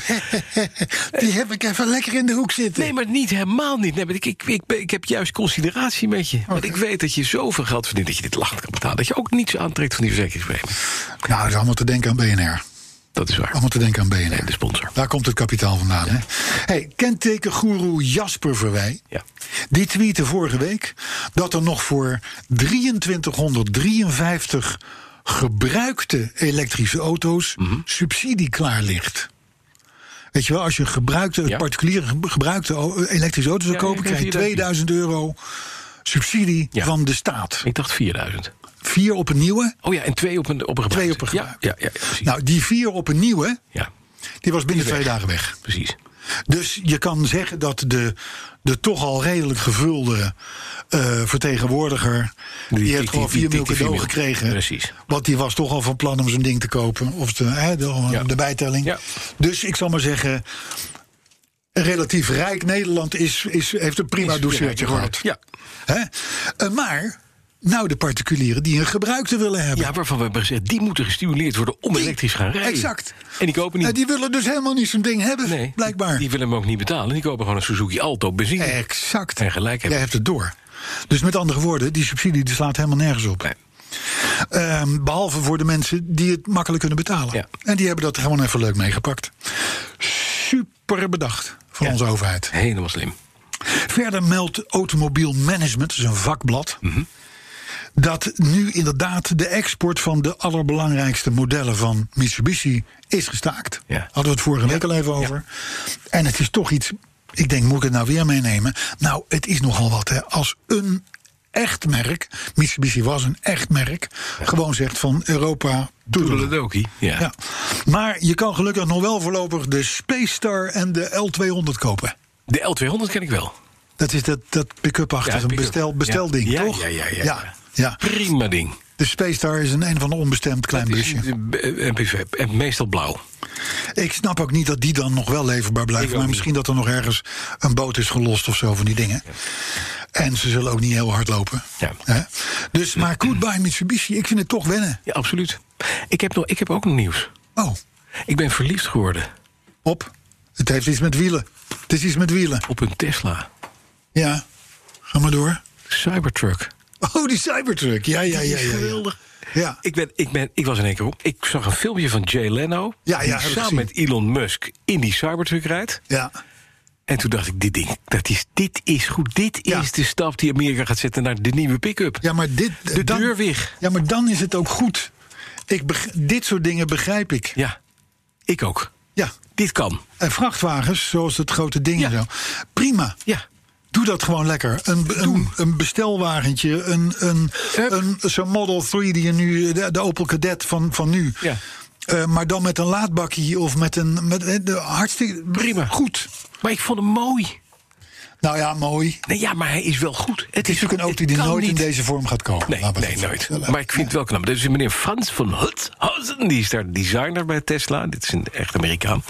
Speaker 3: [laughs] die heb ik even lekker in de hoek zitten.
Speaker 2: Nee, maar niet helemaal niet. Nee, maar ik, ik, ik, ben- ik heb juist consideratie met je. Want ik weet dat je zoveel geld verdient dat je dit lachend kan betalen. Dat je ook niets aantrekt van die verzekeringspremie.
Speaker 3: Nou, dat is allemaal te denken aan BNR.
Speaker 2: Dat is waar.
Speaker 3: Allemaal te denken aan BNR.
Speaker 2: En de sponsor.
Speaker 3: Daar komt het kapitaal vandaan. hè? Hey, kentekengoeroe Jasper Verwij.
Speaker 2: Ja.
Speaker 3: Die tweette vorige week dat er nog voor 2353 gebruikte elektrische auto's
Speaker 2: Mhm.
Speaker 3: subsidie klaar ligt. Weet je wel, als je gebruikte,
Speaker 2: Ja.
Speaker 3: particuliere ge- gebruikte o- elektrische auto's wil
Speaker 2: Ja,
Speaker 3: kopen,
Speaker 2: ik
Speaker 3: krijg je
Speaker 2: zie dat hier.
Speaker 3: 2000 euro subsidie
Speaker 2: Ja.
Speaker 3: van de staat.
Speaker 2: Ik dacht 4000.
Speaker 3: Vier op een nieuwe.
Speaker 2: Oh ja, en twee op een, op een gebruik.
Speaker 3: Twee op een
Speaker 2: ja,
Speaker 3: gebruik.
Speaker 2: ja, ja, precies.
Speaker 3: Nou, die vier op een nieuwe,
Speaker 2: ja,
Speaker 3: die was binnen twee dagen weg.
Speaker 2: precies.
Speaker 3: Dus je kan zeggen dat de, de toch al redelijk gevulde eh, vertegenwoordiger.
Speaker 2: Die
Speaker 3: die,
Speaker 2: tikte-
Speaker 3: heeft gewoon
Speaker 2: die
Speaker 3: 4 miljoen
Speaker 2: tikte
Speaker 3: cadeau
Speaker 2: vier mil.
Speaker 3: gekregen.
Speaker 2: Precies.
Speaker 3: Want die was toch al van plan om zijn ding te kopen. Of de, hè, de,
Speaker 2: Ja.
Speaker 3: de bijtelling.
Speaker 2: Ja.
Speaker 3: Dus ik zal maar zeggen. een Relatief rijk Nederland is, is, heeft een prima
Speaker 2: Is-
Speaker 3: dossiertje
Speaker 2: ja,
Speaker 3: gehad.
Speaker 2: Ja.
Speaker 3: Hè? Eh, maar, nou de particulieren die een gebruikte willen hebben.
Speaker 2: ja, waarvan we hebben gezegd, die moeten gestimuleerd worden om
Speaker 3: Die-
Speaker 2: elektrisch gaan rijden.
Speaker 3: Exact.
Speaker 2: En die kopen niet.
Speaker 3: Eh, die willen dus helemaal niet zo'n ding hebben,
Speaker 2: nee,
Speaker 3: [laughs] blijkbaar.
Speaker 2: Die willen hem ook niet betalen. Die kopen gewoon een Suzuki Alto benzine.
Speaker 3: Exact.
Speaker 2: En gelijk hebben.
Speaker 3: Jij hebt het door. Dus met andere woorden, die subsidie die slaat helemaal nergens op.
Speaker 2: Nee.
Speaker 3: Ehm, behalve voor de mensen die het makkelijk kunnen betalen.
Speaker 2: Ja.
Speaker 3: En die hebben dat gewoon even leuk meegepakt. Super bedacht van
Speaker 2: Ja.
Speaker 3: onze overheid.
Speaker 2: Helemaal slim.
Speaker 3: Verder meldt Automobiel Management, dat is een vakblad...
Speaker 2: Mhm.
Speaker 3: dat nu inderdaad de export van de allerbelangrijkste modellen van Mitsubishi is gestaakt.
Speaker 2: Ja.
Speaker 3: Hadden we het vorige week al even over. En het is toch iets, ik denk, moet ik het nou weer meenemen? Nou, het is nogal wat, hè. Als een echt merk, Mitsubishi was een echt merk... gewoon zegt van Europa... toedeloe.
Speaker 2: Toedeledokie. Ja.
Speaker 3: Ja. Maar je kan gelukkig nog wel voorlopig de Space Star en de L200 kopen.
Speaker 2: De L200 ken ik wel.
Speaker 3: Dat is dat, dat pick-up-achtige
Speaker 2: Ja, pick-up.
Speaker 3: bestel, bestelding,
Speaker 2: Ja. Ja,
Speaker 3: toch?
Speaker 2: ja, ja, ja,
Speaker 3: ja,
Speaker 2: ja.
Speaker 3: ja.
Speaker 2: Prima ding.
Speaker 3: De Space Star is een een van de onbestemd klein
Speaker 2: Het is eh,
Speaker 3: busje.
Speaker 2: een- een MPV. En eh, meestal blauw.
Speaker 3: Ik snap ook niet dat die dan nog wel leverbaar blijft.
Speaker 2: Ik
Speaker 3: Maar
Speaker 2: ook
Speaker 3: misschien dat er nog ergens een boot is gelost of zo van die dingen. En ze zullen ook niet heel hard lopen.
Speaker 2: Ja.
Speaker 3: Hè? Dus, maar goodbye Mitsubishi, ik vind het toch wennen.
Speaker 2: Ja, absoluut. Ik heb, nog, ik heb ook nog nieuws.
Speaker 3: Oh,
Speaker 2: Ik ben verliefd geworden
Speaker 3: op. Het heeft iets met wielen. Het is iets met wielen.
Speaker 2: op een Tesla
Speaker 3: Ja, ga maar door.
Speaker 2: Cybertruck.
Speaker 3: Oh, die Cybertruck. Ja, ja, ja. ja, ja. Ja.
Speaker 2: Ik, ben, ik, ben, ik was in één keer op. Ik zag een filmpje van Jay Leno.
Speaker 3: Ja, ja, heb
Speaker 2: die
Speaker 3: ik
Speaker 2: samen
Speaker 3: gezien.
Speaker 2: met Elon Musk in die Cybertruck rijdt.
Speaker 3: ja.
Speaker 2: En toen dacht ik, dit ding, dat is, dit is goed. Dit
Speaker 3: Ja.
Speaker 2: is de stap die Amerika gaat zetten naar de nieuwe pick-up.
Speaker 3: Ja, maar dit,
Speaker 2: De deur weg.
Speaker 3: Ja, maar dan is het ook goed. Ik beg- dit soort dingen begrijp ik.
Speaker 2: Ja, ik ook.
Speaker 3: Ja.
Speaker 2: Dit kan.
Speaker 3: En vrachtwagens, zoals het grote ding en
Speaker 2: Ja.
Speaker 3: zo. Prima.
Speaker 2: Ja.
Speaker 3: Doe dat gewoon lekker. Een, een, een bestelwagentje, een, een,
Speaker 2: Hup.
Speaker 3: een, zo'n Model 3 die je nu, de, de Opel Cadet van, van nu.
Speaker 2: Ja.
Speaker 3: Eh, maar dan met een laadbakje of met een. Met, eh, de, hartstikke.
Speaker 2: Prima.
Speaker 3: Goed.
Speaker 2: Maar ik vond hem mooi.
Speaker 3: Nou ja, mooi.
Speaker 2: Nee, ja, maar hij is wel goed. Het,
Speaker 3: Het is natuurlijk een auto die
Speaker 2: kan
Speaker 3: nooit in
Speaker 2: niet.
Speaker 3: deze vorm gaat komen.
Speaker 2: Nee,
Speaker 3: Laten we
Speaker 2: nee
Speaker 3: dat
Speaker 2: nooit.
Speaker 3: voorstellen.
Speaker 2: Maar ik vind het wel knap. Dus meneer Frans van Huthausen, die is daar designer bij Tesla. Dit is een echt Amerikaan.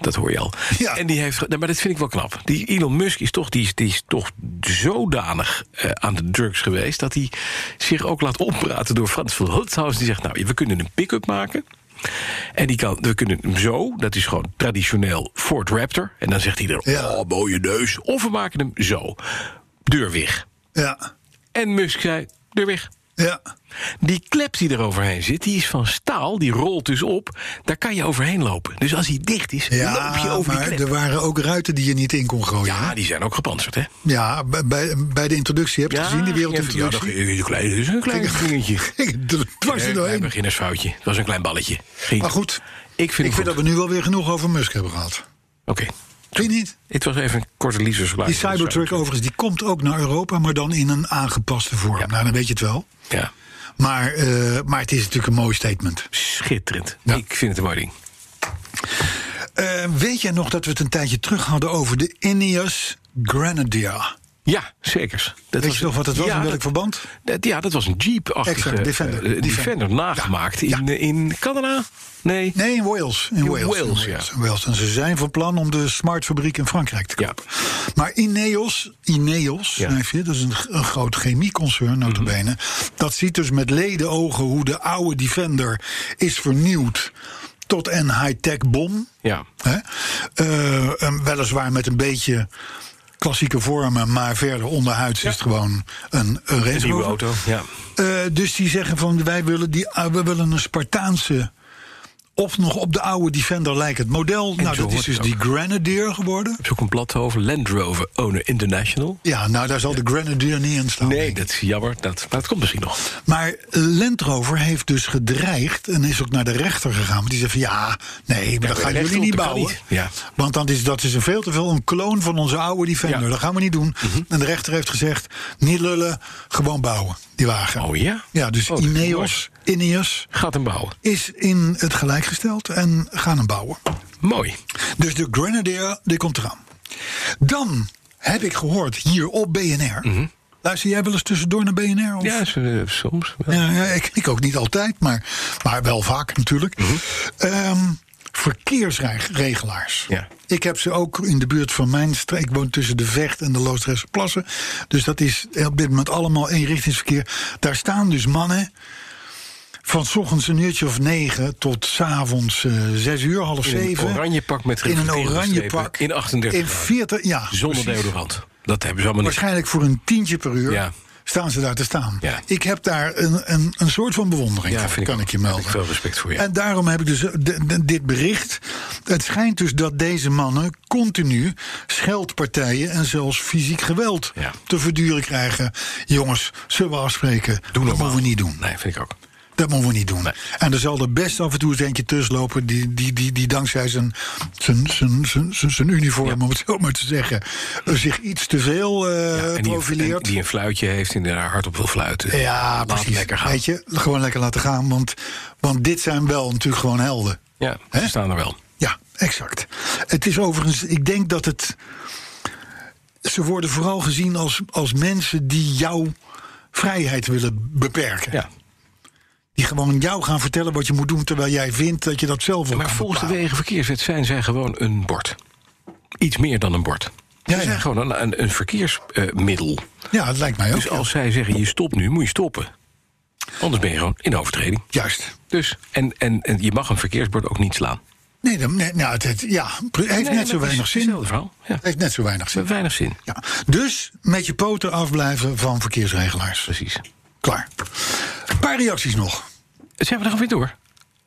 Speaker 2: Dat hoor je al.
Speaker 3: Ja.
Speaker 2: En die heeft, ge- nou, maar dat vind ik wel knap. Die Elon Musk is toch, die is, die is toch zodanig eh, aan de drugs geweest... dat hij zich ook laat oppraten door Frans van Hulthuis. Die zegt, nou, we kunnen een pick-up maken... En die kan, we kunnen hem zo, dat is gewoon traditioneel Ford Raptor. En dan zegt hij er,
Speaker 3: Ja.
Speaker 2: oh, mooie neus. Of we maken hem zo, deur weg.
Speaker 3: Ja,
Speaker 2: En Musk zei, deur weg.
Speaker 3: ja,
Speaker 2: Die klep die er overheen zit, die is van staal, die rolt dus op. Daar kan je overheen lopen. Dus als die dicht is, loop je
Speaker 3: ja
Speaker 2: over die
Speaker 3: maar
Speaker 2: klep.
Speaker 3: er waren ook ruiten die je niet in kon gooien. hè?
Speaker 2: Ja, die zijn ook gepantserd, hè?
Speaker 3: Ja, bij- bij, bij de introductie, heb je
Speaker 2: Ja,
Speaker 3: gezien, die
Speaker 2: Ja, dat
Speaker 3: wereldintroductie?
Speaker 2: is een klein, dat is een klein dingetje.
Speaker 3: Ik dwars er
Speaker 2: Een klein
Speaker 3: doorheen.
Speaker 2: beginnersfoutje. Dat was een klein balletje. Ging-
Speaker 3: nou Maar goed,
Speaker 2: ik vind,
Speaker 3: ik
Speaker 2: het
Speaker 3: vind
Speaker 2: goed.
Speaker 3: dat we nu wel weer genoeg over Musk hebben gehad.
Speaker 2: Oké,
Speaker 3: Vind je niet?
Speaker 2: dit was even een korte leasersgeluid.
Speaker 3: Die Cybertruck overigens, die komt ook naar Europa, maar dan in een aangepaste vorm. Nou, dan weet je het wel.
Speaker 2: Ja,
Speaker 3: Maar, eh, maar het is natuurlijk een mooi statement.
Speaker 2: schitterend.
Speaker 3: Ja.
Speaker 2: Ik vind het een mooi ding.
Speaker 3: Eh, weet jij nog dat we het een tijdje terug hadden over de Ineos Grenadier?
Speaker 2: Ja, zekers. Dat
Speaker 3: Weet je nog wat het was,
Speaker 2: Ja,
Speaker 3: in welk
Speaker 2: dat-
Speaker 3: verband?
Speaker 2: Dat, ja, dat was een Jeep-achtige
Speaker 3: Exact, Defender.
Speaker 2: eh, eh, Defender,
Speaker 3: Defender.
Speaker 2: nagemaakt
Speaker 3: Ja, ja.
Speaker 2: In, eh, in Canada. Nee.
Speaker 3: Nee, in Wales. In, Wales, in
Speaker 2: Wales, ja.
Speaker 3: in Wales. En ze zijn van plan om de smartfabriek in Frankrijk te
Speaker 2: Ja.
Speaker 3: kopen. Maar Ineos, Ineos
Speaker 2: Ja. Mhm.
Speaker 3: schrijf je, dat is een, g- een groot chemieconcern, notabene. Dat ziet dus met leden ogen hoe de oude Defender is vernieuwd tot een high-tech bom.
Speaker 2: Ja.
Speaker 3: Hè? Eh, en weliswaar met een beetje klassieke vormen, maar verder onderhuids is het gewoon een, een Range
Speaker 2: nieuwe
Speaker 3: Rover.
Speaker 2: auto, ja.
Speaker 3: Eh, dus die zeggen van wij willen, die, ah, we willen een Spartaanse of nog op de oude Defender lijkend model. nou,
Speaker 2: zo
Speaker 3: dat is
Speaker 2: hoort
Speaker 3: dus
Speaker 2: het
Speaker 3: die Grenadier geworden.
Speaker 2: Zoek een blad over Land Rover Owner International.
Speaker 3: Ja, nou daar zal de Grenadier niet in staan.
Speaker 2: Nee, dat is jammer. Dat, maar dat komt misschien nog.
Speaker 3: Maar Land Rover heeft dus gedreigd en is ook naar de rechter gegaan. Want die zei van ja, nee, maar dat
Speaker 2: de
Speaker 3: gaan
Speaker 2: rechter
Speaker 3: jullie
Speaker 2: op,
Speaker 3: niet
Speaker 2: dat kan
Speaker 3: bouwen.
Speaker 2: niet. Ja.
Speaker 3: Want dan is, dat is een veel te veel een kloon van onze oude Defender.
Speaker 2: Ja.
Speaker 3: Dat gaan we niet doen. En de rechter heeft gezegd, niet lullen, gewoon bouwen, die wagen.
Speaker 2: Oh ja?
Speaker 3: Ja, dus
Speaker 2: Oh, dat is
Speaker 3: Ineos, Ineos
Speaker 2: Gaat hem bouwen.
Speaker 3: is in het gelijk gesteld en gaan hem bouwen.
Speaker 2: Mooi.
Speaker 3: Dus de Grenadier, die komt eraan. Dan heb ik gehoord hier op BNR. Luister jij wel eens tussendoor naar BNR? Of?
Speaker 2: Ja, s- eh, soms. wel.
Speaker 3: Ja, ja, ik, ik ook niet altijd, maar, maar wel vaak natuurlijk.
Speaker 2: Mhm.
Speaker 3: Ehm, verkeersregelaars.
Speaker 2: Ja.
Speaker 3: Ik heb ze ook in de buurt van mijn streek. Ik woon tussen de Vecht en de Loosdrechtse Plassen. Dus dat is op dit moment allemaal eenrichtingsverkeer. Daar staan dus mannen van 's ochtends een uurtje of negen tot 's avonds eh, zes uur, half
Speaker 2: een
Speaker 3: zeven.
Speaker 2: oranje pak met
Speaker 3: In een
Speaker 2: reflecterende
Speaker 3: oranje
Speaker 2: strepen.
Speaker 3: pak.
Speaker 2: In 38
Speaker 3: In
Speaker 2: graden.
Speaker 3: 40, ja.
Speaker 2: Zonder
Speaker 3: precies.
Speaker 2: deodorant. Dat hebben ze allemaal niet.
Speaker 3: Waarschijnlijk voor een tientje per uur
Speaker 2: Ja.
Speaker 3: staan ze daar te staan.
Speaker 2: Ja.
Speaker 3: Ik heb daar een, een, een soort van bewondering
Speaker 2: Ja,
Speaker 3: voor,
Speaker 2: vind ik
Speaker 3: kan
Speaker 2: ook.
Speaker 3: ik je
Speaker 2: Heb
Speaker 3: melden.
Speaker 2: ik veel respect voor, ja.
Speaker 3: En daarom heb ik dus eh, de- de- dit bericht. Het schijnt dus dat deze mannen continu scheldpartijen en zelfs fysiek geweld
Speaker 2: Ja.
Speaker 3: te verduren krijgen. Jongens, zullen we afspreken? dat moeten we niet doen.
Speaker 2: Nee, vind ik ook.
Speaker 3: Dat moeten we niet doen.
Speaker 2: Nee.
Speaker 3: En er zal er best af en toe eens eentje tussenlopen... die, die, die, die dankzij zijn, zijn, zijn, zijn, zijn, zijn uniform, om het zo maar te zeggen... eh, zich iets te veel eh,
Speaker 2: en die, een, en
Speaker 3: profileert.
Speaker 2: die een fluitje heeft en die daar hard op wil fluiten.
Speaker 3: ja,
Speaker 2: Laat
Speaker 3: precies.
Speaker 2: lekker gaan.
Speaker 3: Weet je, gewoon lekker laten gaan. Want, want dit zijn wel natuurlijk gewoon helden.
Speaker 2: Ja,
Speaker 3: Hè?
Speaker 2: ze staan er wel.
Speaker 3: Ja, exact. Het is overigens, ik denk dat het. Ze worden vooral gezien als, als mensen die jouw vrijheid willen beperken.
Speaker 2: Ja.
Speaker 3: Die gewoon jou gaan vertellen wat je moet doen, terwijl jij vindt dat je dat zelf wil.
Speaker 2: Maar volgens de Wegenverkeerswet zijn zij gewoon een bord. Iets meer dan een bord. Ze
Speaker 3: Ja, ja.
Speaker 2: zijn gewoon een, een, een verkeersmiddel.
Speaker 3: Ja, dat lijkt mij ook.
Speaker 2: Dus als zij zeggen je stopt nu, moet je stoppen. Anders ben je gewoon in overtreding.
Speaker 3: Juist.
Speaker 2: Dus, en, en, en je mag een verkeersbord ook niet slaan.
Speaker 3: Nee, dan, nee nou, het, het- ja, pre- heeft
Speaker 2: Nee,
Speaker 3: net zo
Speaker 2: dat is
Speaker 3: weinig zin.
Speaker 2: Hetzelfde verhaal. Ja.
Speaker 3: Heeft net zo weinig zin.
Speaker 2: Heeft weinig zin.
Speaker 3: Ja. Dus met je poten afblijven van verkeersregelaars.
Speaker 2: Precies.
Speaker 3: Klaar. Een paar reacties nog.
Speaker 2: Zijn we er alweer door?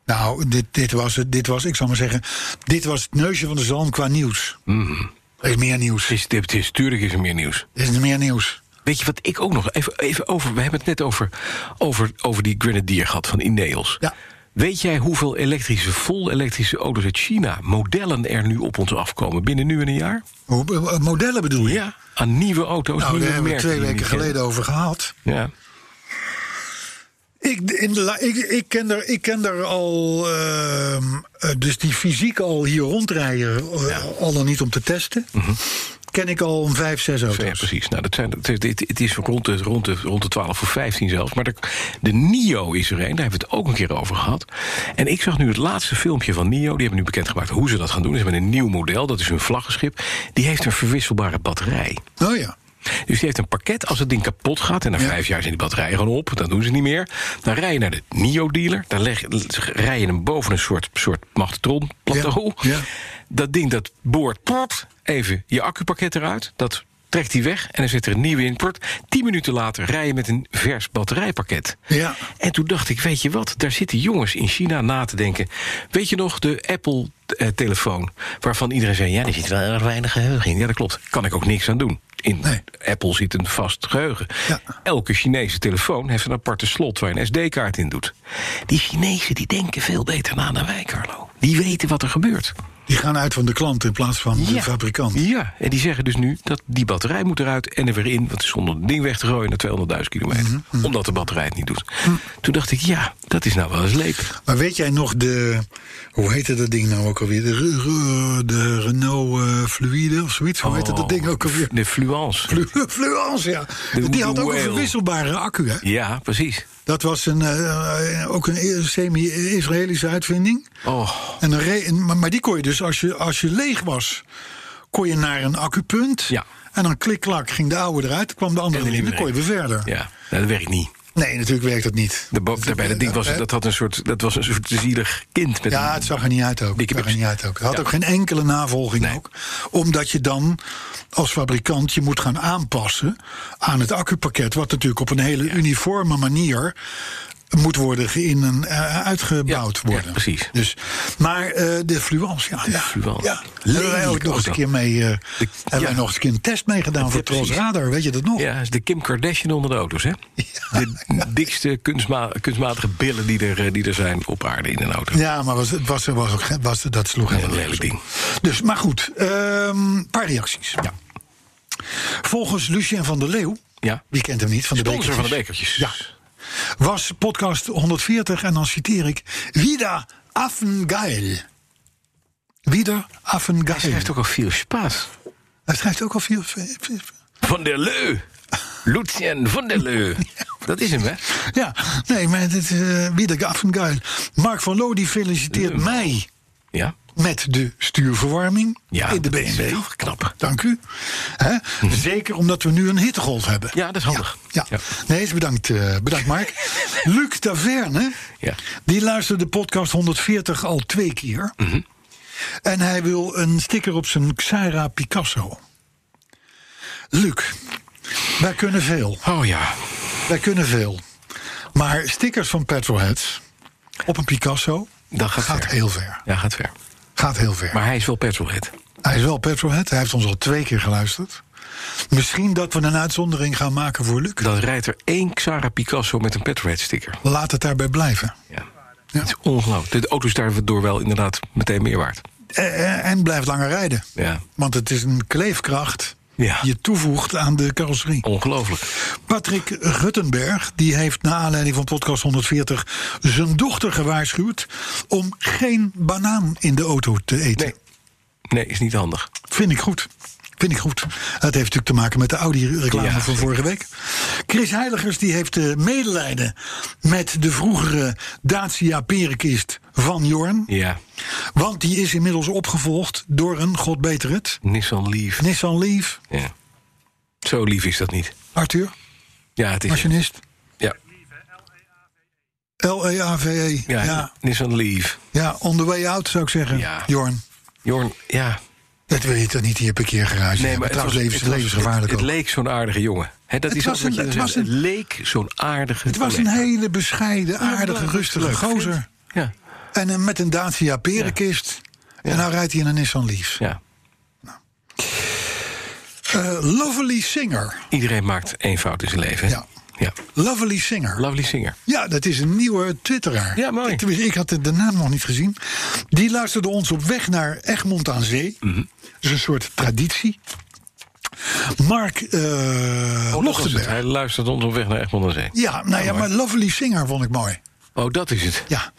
Speaker 3: Nou, dit, dit, was het, dit was, ik zal maar zeggen, dit was het neusje van de zalm qua nieuws.
Speaker 2: Mhm.
Speaker 3: Er is meer nieuws.
Speaker 2: Het is, het is, tuurlijk is er meer nieuws.
Speaker 3: Er is meer nieuws.
Speaker 2: Weet je wat ik ook nog even, even over. We hebben het net over, over, over die Grenadier gehad van Ineos.
Speaker 3: Ja.
Speaker 2: Weet jij hoeveel elektrische, vol-elektrische auto's uit China, modellen er nu op ons afkomen binnen nu en een jaar?
Speaker 3: Hoe- hoe- eh, Modellen bedoel je?
Speaker 2: Ja. Aan nieuwe auto's.
Speaker 3: Nou, daar
Speaker 2: nieuwe
Speaker 3: hebben we
Speaker 2: merken
Speaker 3: twee
Speaker 2: die we
Speaker 3: weken
Speaker 2: niet
Speaker 3: geleden over gehad.
Speaker 2: kennen. Ja.
Speaker 3: Ik, in de la- ik, ik, ken er, ik ken er al,
Speaker 2: Mhm.
Speaker 3: ehm, eh, dus die fysiek al hier rondrijden, eh, al dan niet om te testen. ken ik al een vijf, zes auto's.
Speaker 2: Ja, precies. Nou, dat zijn, het, is- het is rond de, rond, de, rond de 12 of 15 zelfs. Maar de, de NIO is er een, daar hebben we het ook een keer over gehad. En ik zag nu het laatste filmpje van NIO. Die hebben nu bekendgemaakt hoe ze dat gaan doen. Ze hebben een nieuw model, dat is hun vlaggenschip. Die heeft een verwisselbare batterij.
Speaker 3: Oh ja.
Speaker 2: Dus die heeft een pakket. Als het ding kapot gaat en na
Speaker 3: Ja.
Speaker 2: vijf jaar zijn die batterijen gewoon op, dan doen ze niet meer. Dan rij je naar de NIO-dealer. Dan leg, rij je hem boven een soort, soort magnetron-plateau.
Speaker 3: Ja, ja.
Speaker 2: Dat ding dat boort plop, even je accupakket eruit. Dat trekt hij weg en dan zit er een nieuwe in. Plop, Tien minuten later rij je met een vers batterijpakket.
Speaker 3: Ja.
Speaker 2: En toen dacht ik, weet je wat, daar zitten jongens in China na te denken. Weet je nog, de Apple-telefoon, waarvan iedereen zei... ja, er zit wel erg weinig geheugen in. Ja, dat klopt. Kan ik ook niks aan doen. In
Speaker 3: Nee.
Speaker 2: Apple zit een vast geheugen.
Speaker 3: Ja.
Speaker 2: Elke Chinese telefoon heeft een aparte slot waar je een SD-kaart in doet. Die Chinezen die denken veel beter na dan wij, Carlo. Die weten wat er gebeurt.
Speaker 3: Die gaan uit van de klant in plaats van de fabrikant.
Speaker 2: Ja, en die zeggen dus nu dat die batterij moet eruit en er weer in. Want zonder het ding weg te gooien naar 200.000 kilometer.
Speaker 3: Mhm,
Speaker 2: Omdat de batterij het niet doet. Toen dacht ik, ja, dat is nou wel eens leuk.
Speaker 3: Maar weet jij nog de. Hoe heette dat ding nou ook alweer? De, Re- Re- de Renault eh, Fluide of zoiets. Hoe heette
Speaker 2: Oh,
Speaker 3: dat ding ook alweer?
Speaker 2: De Fluence.
Speaker 3: Flu- Fluence, ja.
Speaker 2: De-
Speaker 3: Die had
Speaker 2: de
Speaker 3: ook een
Speaker 2: whale.
Speaker 3: verwisselbare accu, hè?
Speaker 2: ja, precies.
Speaker 3: Dat was een, eh, eh, ook een semi-Israëlische uitvinding.
Speaker 2: Oh,
Speaker 3: En dan re- en- maar, maar die kon je dus, als je, als je leeg was, kon je naar een accupunt.
Speaker 2: Ja.
Speaker 3: En dan klik-klak ging de oude eruit, dan kwam de andere
Speaker 2: En
Speaker 3: in.
Speaker 2: die
Speaker 3: Dan kon je weer verder.
Speaker 2: ja, nou, dat werkt niet.
Speaker 3: Nee, natuurlijk werkt dat niet.
Speaker 2: De bo- daarbij, dat ding was, dat had een soort, dat was een soort zielig kind. Met
Speaker 3: Ja,
Speaker 2: een,
Speaker 3: het zag er niet uit ook. Het
Speaker 2: Dikke
Speaker 3: zag er
Speaker 2: pips.
Speaker 3: niet uit ook. Het had
Speaker 2: Ja.
Speaker 3: ook geen enkele navolging
Speaker 2: Nee.
Speaker 3: ook. Omdat je dan als fabrikant je moet gaan aanpassen aan het accupakket. Wat natuurlijk op een hele uniforme manier moet worden in en eh, uitgebouwd
Speaker 2: Ja, ja,
Speaker 3: worden.
Speaker 2: precies.
Speaker 3: Dus, maar eh, de fluence, ja. ja.
Speaker 2: fluence.
Speaker 3: Ja. Hebben wij ook
Speaker 2: Lelijk
Speaker 3: nog eens een
Speaker 2: ook
Speaker 3: keer mee. eh, hebben
Speaker 2: ja.
Speaker 3: wij nog eens een keer een test meegedaan voor
Speaker 2: Ja, precies.
Speaker 3: Tros Radar, weet je dat nog?
Speaker 2: Ja, dat is de Kim Kardashian onder de auto's, hè? De dikste kunstma- kunstmatige billen die er, eh, die er zijn op aarde in een auto.
Speaker 3: Ja, maar was, het was, er was, ook geen- was, dat sloeg
Speaker 2: Wat
Speaker 3: helemaal
Speaker 2: een lelijk ding.
Speaker 3: Dus, maar goed, ehm, een paar reacties. Volgens Lucien van der Leeuw,
Speaker 2: Ja.
Speaker 3: wie kent hem niet, van de
Speaker 2: Sponsor van de
Speaker 3: Bekertjes,
Speaker 2: bekertjes.
Speaker 3: Ja. was podcast 140 en dan citeer ik... Wieder Affengeil. Wieder Affengeil.
Speaker 2: Hij heeft ook al veel spaas.
Speaker 3: Hij schrijft ook al veel... veel- veel-
Speaker 2: Van der Leu. Lucien van der
Speaker 3: [laughs]
Speaker 2: Leu. Dat is hem, hè?
Speaker 3: Ja, nee, maar dit is eh, Wieder Affengeil. Mark van Loo die feliciteert
Speaker 2: Eh.
Speaker 3: mij
Speaker 2: Ja.
Speaker 3: met de stuurverwarming
Speaker 2: ja
Speaker 3: in de
Speaker 2: dat is Hm.
Speaker 3: BMW.
Speaker 2: wel Knap.
Speaker 3: Dank u. Hè? Zeker omdat we nu een hittegolf hebben.
Speaker 2: Ja, dat is handig.
Speaker 3: Ja.
Speaker 2: Ja.
Speaker 3: Nee, is bedankt, eh, bedankt Mark.
Speaker 2: [laughs]
Speaker 3: Luc Taverne,
Speaker 2: Ja.
Speaker 3: die luisterde de podcast 140 al twee keer.
Speaker 2: Mhm.
Speaker 3: En hij wil een sticker op zijn Xara Picasso. Luc, wij kunnen veel.
Speaker 2: Oh ja.
Speaker 3: Wij kunnen veel. Maar stickers van petrolheads op een Picasso
Speaker 2: Dat gaat ver.
Speaker 3: heel ver.
Speaker 2: Ja, gaat ver.
Speaker 3: Gaat heel ver.
Speaker 2: Maar hij is wel petrolhead.
Speaker 3: Hij is wel petrolhead. Hij heeft ons al twee keer geluisterd. Misschien dat we een uitzondering gaan maken voor Luc.
Speaker 2: Dan rijdt er één Xara Picasso met een petrolhead sticker.
Speaker 3: Laat het daarbij blijven.
Speaker 2: Ja. Dat is ongelooflijk. De auto is daardoor wel inderdaad meteen meer waard.
Speaker 3: Eh, eh, En blijft langer rijden.
Speaker 2: Ja.
Speaker 3: Want het is een kleefkracht
Speaker 2: Ja.
Speaker 3: die je toevoegt aan de carrosserie.
Speaker 2: Ongelooflijk.
Speaker 3: Patrick Ruttenberg die heeft na aanleiding van podcast 140 zijn dochter gewaarschuwd om geen banaan in de auto te eten.
Speaker 2: Nee. Nee, is niet handig.
Speaker 3: Vind ik goed. Vind ik goed. Het heeft natuurlijk te maken met de Audi-reclame
Speaker 2: Ja,
Speaker 3: van
Speaker 2: zeker.
Speaker 3: vorige week. Chris Heiligers die heeft eh, medelijden met de vroegere Dacia Perenkist van Jorn.
Speaker 2: Ja.
Speaker 3: Want die is inmiddels opgevolgd door een, god beter het,
Speaker 2: Nissan Leaf.
Speaker 3: Nissan Leaf.
Speaker 2: Ja. Zo lief is dat niet.
Speaker 3: Arthur,
Speaker 2: Ja, het is.
Speaker 3: machinist. E
Speaker 2: Ja.
Speaker 3: L-E-A-V-E.
Speaker 2: Ja,
Speaker 3: Ja, ja.
Speaker 2: Nissan Leaf.
Speaker 3: on the way out zou ik zeggen,
Speaker 2: Ja.
Speaker 3: Jorn.
Speaker 2: Jorn, ja.
Speaker 3: Dat wil je toch niet in je parkeergarage hebben? Trouwens,
Speaker 2: was-
Speaker 3: levens-
Speaker 2: het was-
Speaker 3: levensgevaarlijk
Speaker 2: Het,
Speaker 3: ook.
Speaker 2: het leek zo'n aardige jongen. Hè, dat
Speaker 3: Het
Speaker 2: is
Speaker 3: was
Speaker 2: altijd
Speaker 3: een-
Speaker 2: wat
Speaker 3: het
Speaker 2: je
Speaker 3: was
Speaker 2: zegt.
Speaker 3: een-
Speaker 2: het leek zo'n aardige
Speaker 3: Het was een
Speaker 2: collega.
Speaker 3: hele bescheiden, aardige,
Speaker 2: leuk,
Speaker 3: rustige
Speaker 2: leuk
Speaker 3: gozer.
Speaker 2: Ja,
Speaker 3: En eh, met een Dacia perenkist. En nou rijdt hij in een Nissan Leaf.
Speaker 2: ja.
Speaker 3: Eh, lovely Singer.
Speaker 2: Iedereen maakt één fout in zijn leven. hè?
Speaker 3: Ja.
Speaker 2: ja.
Speaker 3: Lovely Singer.
Speaker 2: Lovely singer.
Speaker 3: Ja, dat is een nieuwe twitteraar.
Speaker 2: Ja, mooi.
Speaker 3: Ik, tenminste, ik had de, de naam nog niet gezien. Die luisterde ons op weg naar Egmond aan Zee.
Speaker 2: Mhm.
Speaker 3: Dat is een soort traditie. Mark eh
Speaker 2: Oh, dat was het.
Speaker 3: Lochtenberg.
Speaker 2: Hij luistert ons op weg naar Egmond aan Zee.
Speaker 3: Ja, nou ja, maar Lovely Singer vond ik mooi.
Speaker 2: Oh, dat is het.
Speaker 3: Ja,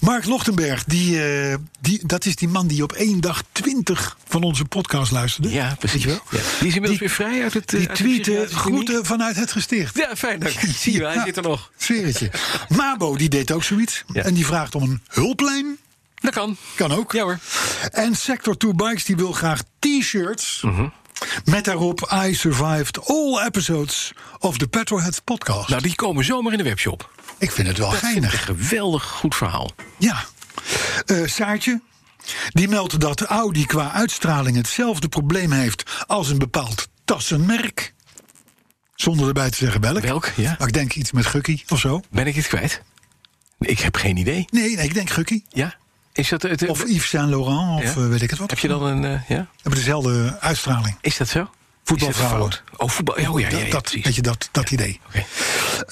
Speaker 3: Mark Lochtenberg, die, eh, die, dat is die man die op één dag twintig van onze podcast luisterde.
Speaker 2: Ja, precies.
Speaker 3: Weet je wel?
Speaker 2: Ja. Die is inmiddels weer vrij uit het... eh,
Speaker 3: Die
Speaker 2: uit de
Speaker 3: tweette
Speaker 2: psychiatrische kliniek.
Speaker 3: groeten vanuit het gesticht.
Speaker 2: Ja, fijn dank. [laughs] Zie je, wel, hij zit er nog.
Speaker 3: Sfeertje. Mabo, die deed ook zoiets.
Speaker 2: Ja.
Speaker 3: En die vraagt om een hulplijn.
Speaker 2: Dat kan.
Speaker 3: Kan ook.
Speaker 2: Ja hoor.
Speaker 3: En Sector 2 Bikes, die wil graag t-shirts.
Speaker 2: Mhm.
Speaker 3: Met daarop I survived all episodes of the Petrolheads podcast.
Speaker 2: Nou, die komen zomaar in de webshop.
Speaker 3: ik vind het wel
Speaker 2: Een
Speaker 3: geinig.
Speaker 2: geweldig goed verhaal.
Speaker 3: Ja. Eh, Saartje, die meldt dat Audi qua uitstraling hetzelfde probleem heeft als een bepaald tassenmerk. Zonder erbij te zeggen welk.
Speaker 2: Welk, ja.
Speaker 3: Maar ik denk iets met Gukkie of zo.
Speaker 2: Ben ik het kwijt? Ik heb geen idee.
Speaker 3: Nee, nee ik denk Gukkie.
Speaker 2: Ja? Is dat het... eh,
Speaker 3: Of Yves Saint Laurent, of
Speaker 2: Ja.
Speaker 3: eh, weet ik het wat.
Speaker 2: Heb je dan een... eh, ja?
Speaker 3: Hebben dezelfde uitstraling.
Speaker 2: Is dat zo?
Speaker 3: Voetbalvrouwen.
Speaker 2: Is dat fout? Oh, voetbal. Oh, ja, ja, ja,
Speaker 3: dat, dat,
Speaker 2: precies.
Speaker 3: weet je, dat, dat idee.
Speaker 2: Oké.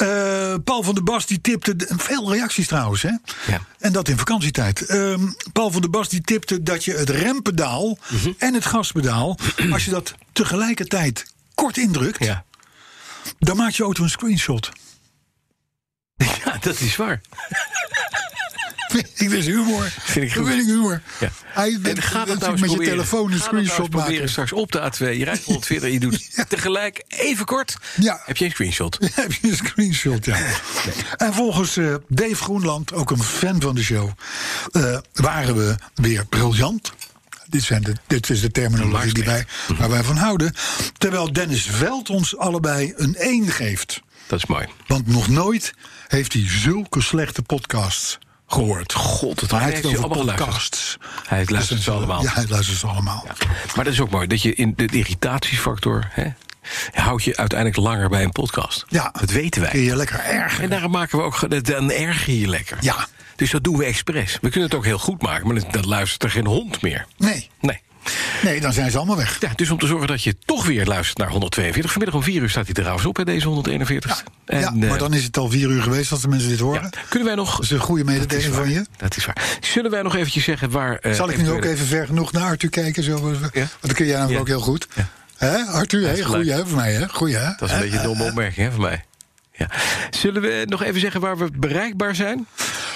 Speaker 3: Eh, Paul van der Bas die tipte. Veel reacties trouwens, hè?
Speaker 2: Ja.
Speaker 3: En dat in vakantietijd. Ehm, Paul van der Bas die tipte dat je het rempedaal
Speaker 2: Mhm.
Speaker 3: en het gaspedaal. als je dat tegelijkertijd kort indrukt.
Speaker 2: Ja. [laughs]
Speaker 3: dan maakt je auto een screenshot.
Speaker 2: ja, dat is waar.
Speaker 3: ik wist humor.
Speaker 2: Vind ik
Speaker 3: Dat
Speaker 2: goed.
Speaker 3: vind ik humor.
Speaker 2: Ja.
Speaker 3: Hij bent
Speaker 2: En ga dat nou
Speaker 3: met
Speaker 2: eens
Speaker 3: je
Speaker 2: proberen.
Speaker 3: telefoon
Speaker 2: Ga
Speaker 3: een
Speaker 2: dat nou eens
Speaker 3: screenshot
Speaker 2: proberen
Speaker 3: maken.
Speaker 2: straks op de A2. Je rijdt 140 en je
Speaker 3: [laughs]
Speaker 2: doet tegelijk even kort.
Speaker 3: Ja.
Speaker 2: Heb je een screenshot?
Speaker 3: [laughs] heb je een screenshot, ja. En volgens eh, Dave Groenland, ook een fan van de show, eh, waren we weer briljant. Dit, zijn de, dit is de terminologie die wij, waar wij van houden. Terwijl Dennis Veld ons allebei een 1 geeft.
Speaker 2: Dat is mooi.
Speaker 3: Want nog nooit heeft hij zulke slechte podcasts gehoord.
Speaker 2: God, het
Speaker 3: Maar hij
Speaker 2: heeft
Speaker 3: heeft
Speaker 2: hij
Speaker 3: het over
Speaker 2: allemaal geluisterd.
Speaker 3: podcasts.
Speaker 2: Hij luistert
Speaker 3: Dus dat is
Speaker 2: ze allemaal.
Speaker 3: Ja, hij luistert ze allemaal.
Speaker 2: Maar dat is ook mooi. Dat je in de irritatiefactor... Hè, houdt je uiteindelijk langer bij een podcast.
Speaker 3: Ja.
Speaker 2: Dat weten
Speaker 3: Kun
Speaker 2: wij.
Speaker 3: je lekker erg.
Speaker 2: En daarom maken we ook... ge- Dan erger je lekker.
Speaker 3: Ja.
Speaker 2: Dus dat doen we expres. We kunnen het ook heel goed maken, maar dan- dan luistert er geen hond meer.
Speaker 3: Nee,
Speaker 2: Nee.
Speaker 3: nee, dan zijn ze allemaal weg.
Speaker 2: Ja, dus om te zorgen dat je toch weer luistert naar 142. Vanmiddag om 4 uur staat hij trouwens op, hè, deze 141. ste
Speaker 3: ja, maar dan is het al vier uur geweest als de mensen dit horen.
Speaker 2: eh, Kunnen wij nog...
Speaker 3: Dat is een goede
Speaker 2: Dat
Speaker 3: mededeling
Speaker 2: is waar.
Speaker 3: van je.
Speaker 2: Dat is waar. Zullen wij nog eventjes zeggen waar... eh,
Speaker 3: Zal ik nu
Speaker 2: eventuele-
Speaker 3: ook even ver genoeg naar Arthur kijken? Zo, want
Speaker 2: Ja.
Speaker 3: dat kun jij namelijk
Speaker 2: Ja.
Speaker 3: ook heel goed.
Speaker 2: Ja.
Speaker 3: Hè, Arthur,
Speaker 2: is
Speaker 3: hè?
Speaker 2: gelijk.
Speaker 3: goeie hè, voor mij. Hè? Goeie, hè?
Speaker 2: Dat is een beetje een
Speaker 3: eh,
Speaker 2: domme opmerking hè, van mij. Ja. Zullen we nog even zeggen waar we bereikbaar zijn?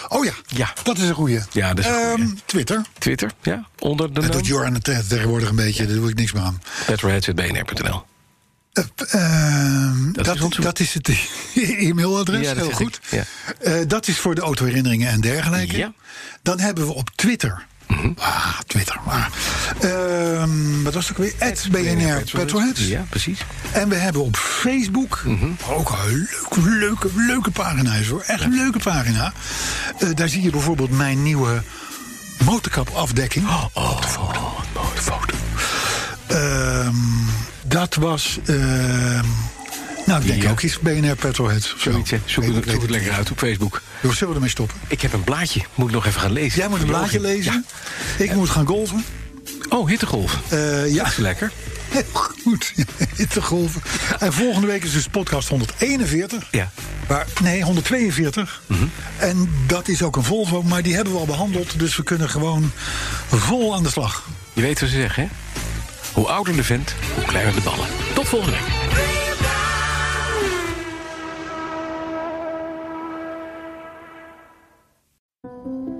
Speaker 3: Oh ja.
Speaker 2: Ja.
Speaker 3: dat is een goeie.
Speaker 2: Ja, dat is een goeie.
Speaker 3: Ehm, Twitter.
Speaker 2: Twitter, ja? Onder de
Speaker 3: Dat
Speaker 2: naam
Speaker 3: doet Joran het eh, tegenwoordig een beetje, daar doe ik niks meer aan.
Speaker 2: betterheads.bnr.nl.
Speaker 3: Eh, ehm, dat,
Speaker 2: is onze-
Speaker 3: dat is het [laughs] e-mailadres,
Speaker 2: Ja, dat
Speaker 3: heel
Speaker 2: zeg
Speaker 3: goed.
Speaker 2: ik, ja.
Speaker 3: Eh, dat is voor de autoherinneringen en dergelijke.
Speaker 2: Ja. Mhm.
Speaker 3: Dan hebben we op Twitter... Ah, Twitter. Ah. Ehm, wat was het ook weer? Het BNR Petroheads.
Speaker 2: Ja, Mhm. precies.
Speaker 3: En we hebben op Facebook ook een leuk, leuke, leuke pagina's hoor. Echt een leuke pagina. Eh, daar zie je bijvoorbeeld mijn nieuwe motorkapafdekking. Oh, foto. mooie foto. Ehm, dat was. ehm, nou, ik denk
Speaker 2: Ja.
Speaker 3: ook iets BNR Petrolhead. of zo.
Speaker 2: Zoiets, hè. Zoek, het,
Speaker 3: Ik weet
Speaker 2: zoek het
Speaker 3: het
Speaker 2: lekker uit op Facebook.
Speaker 3: niet. Joh, zullen we ermee stoppen?
Speaker 2: Ik heb een blaadje. Moet ik nog even gaan lezen.
Speaker 3: Jij moet een blaadje lezen. Ik moet gaan golven.
Speaker 2: Ja. Oh, hittegolf.
Speaker 3: Eh, ja.
Speaker 2: Dat is lekker.
Speaker 3: [laughs] Heel goed. [laughs] te golven. En volgende week is dus podcast 141.
Speaker 2: Ja. Mhm.
Speaker 3: Waar, nee, 142. En dat is ook een Volvo, maar die hebben we al behandeld. Dus we kunnen gewoon vol aan de slag.
Speaker 2: Je weet wat ze zeggen, hè? Hoe ouder de vent, hoe kleiner de ballen. Tot volgende week.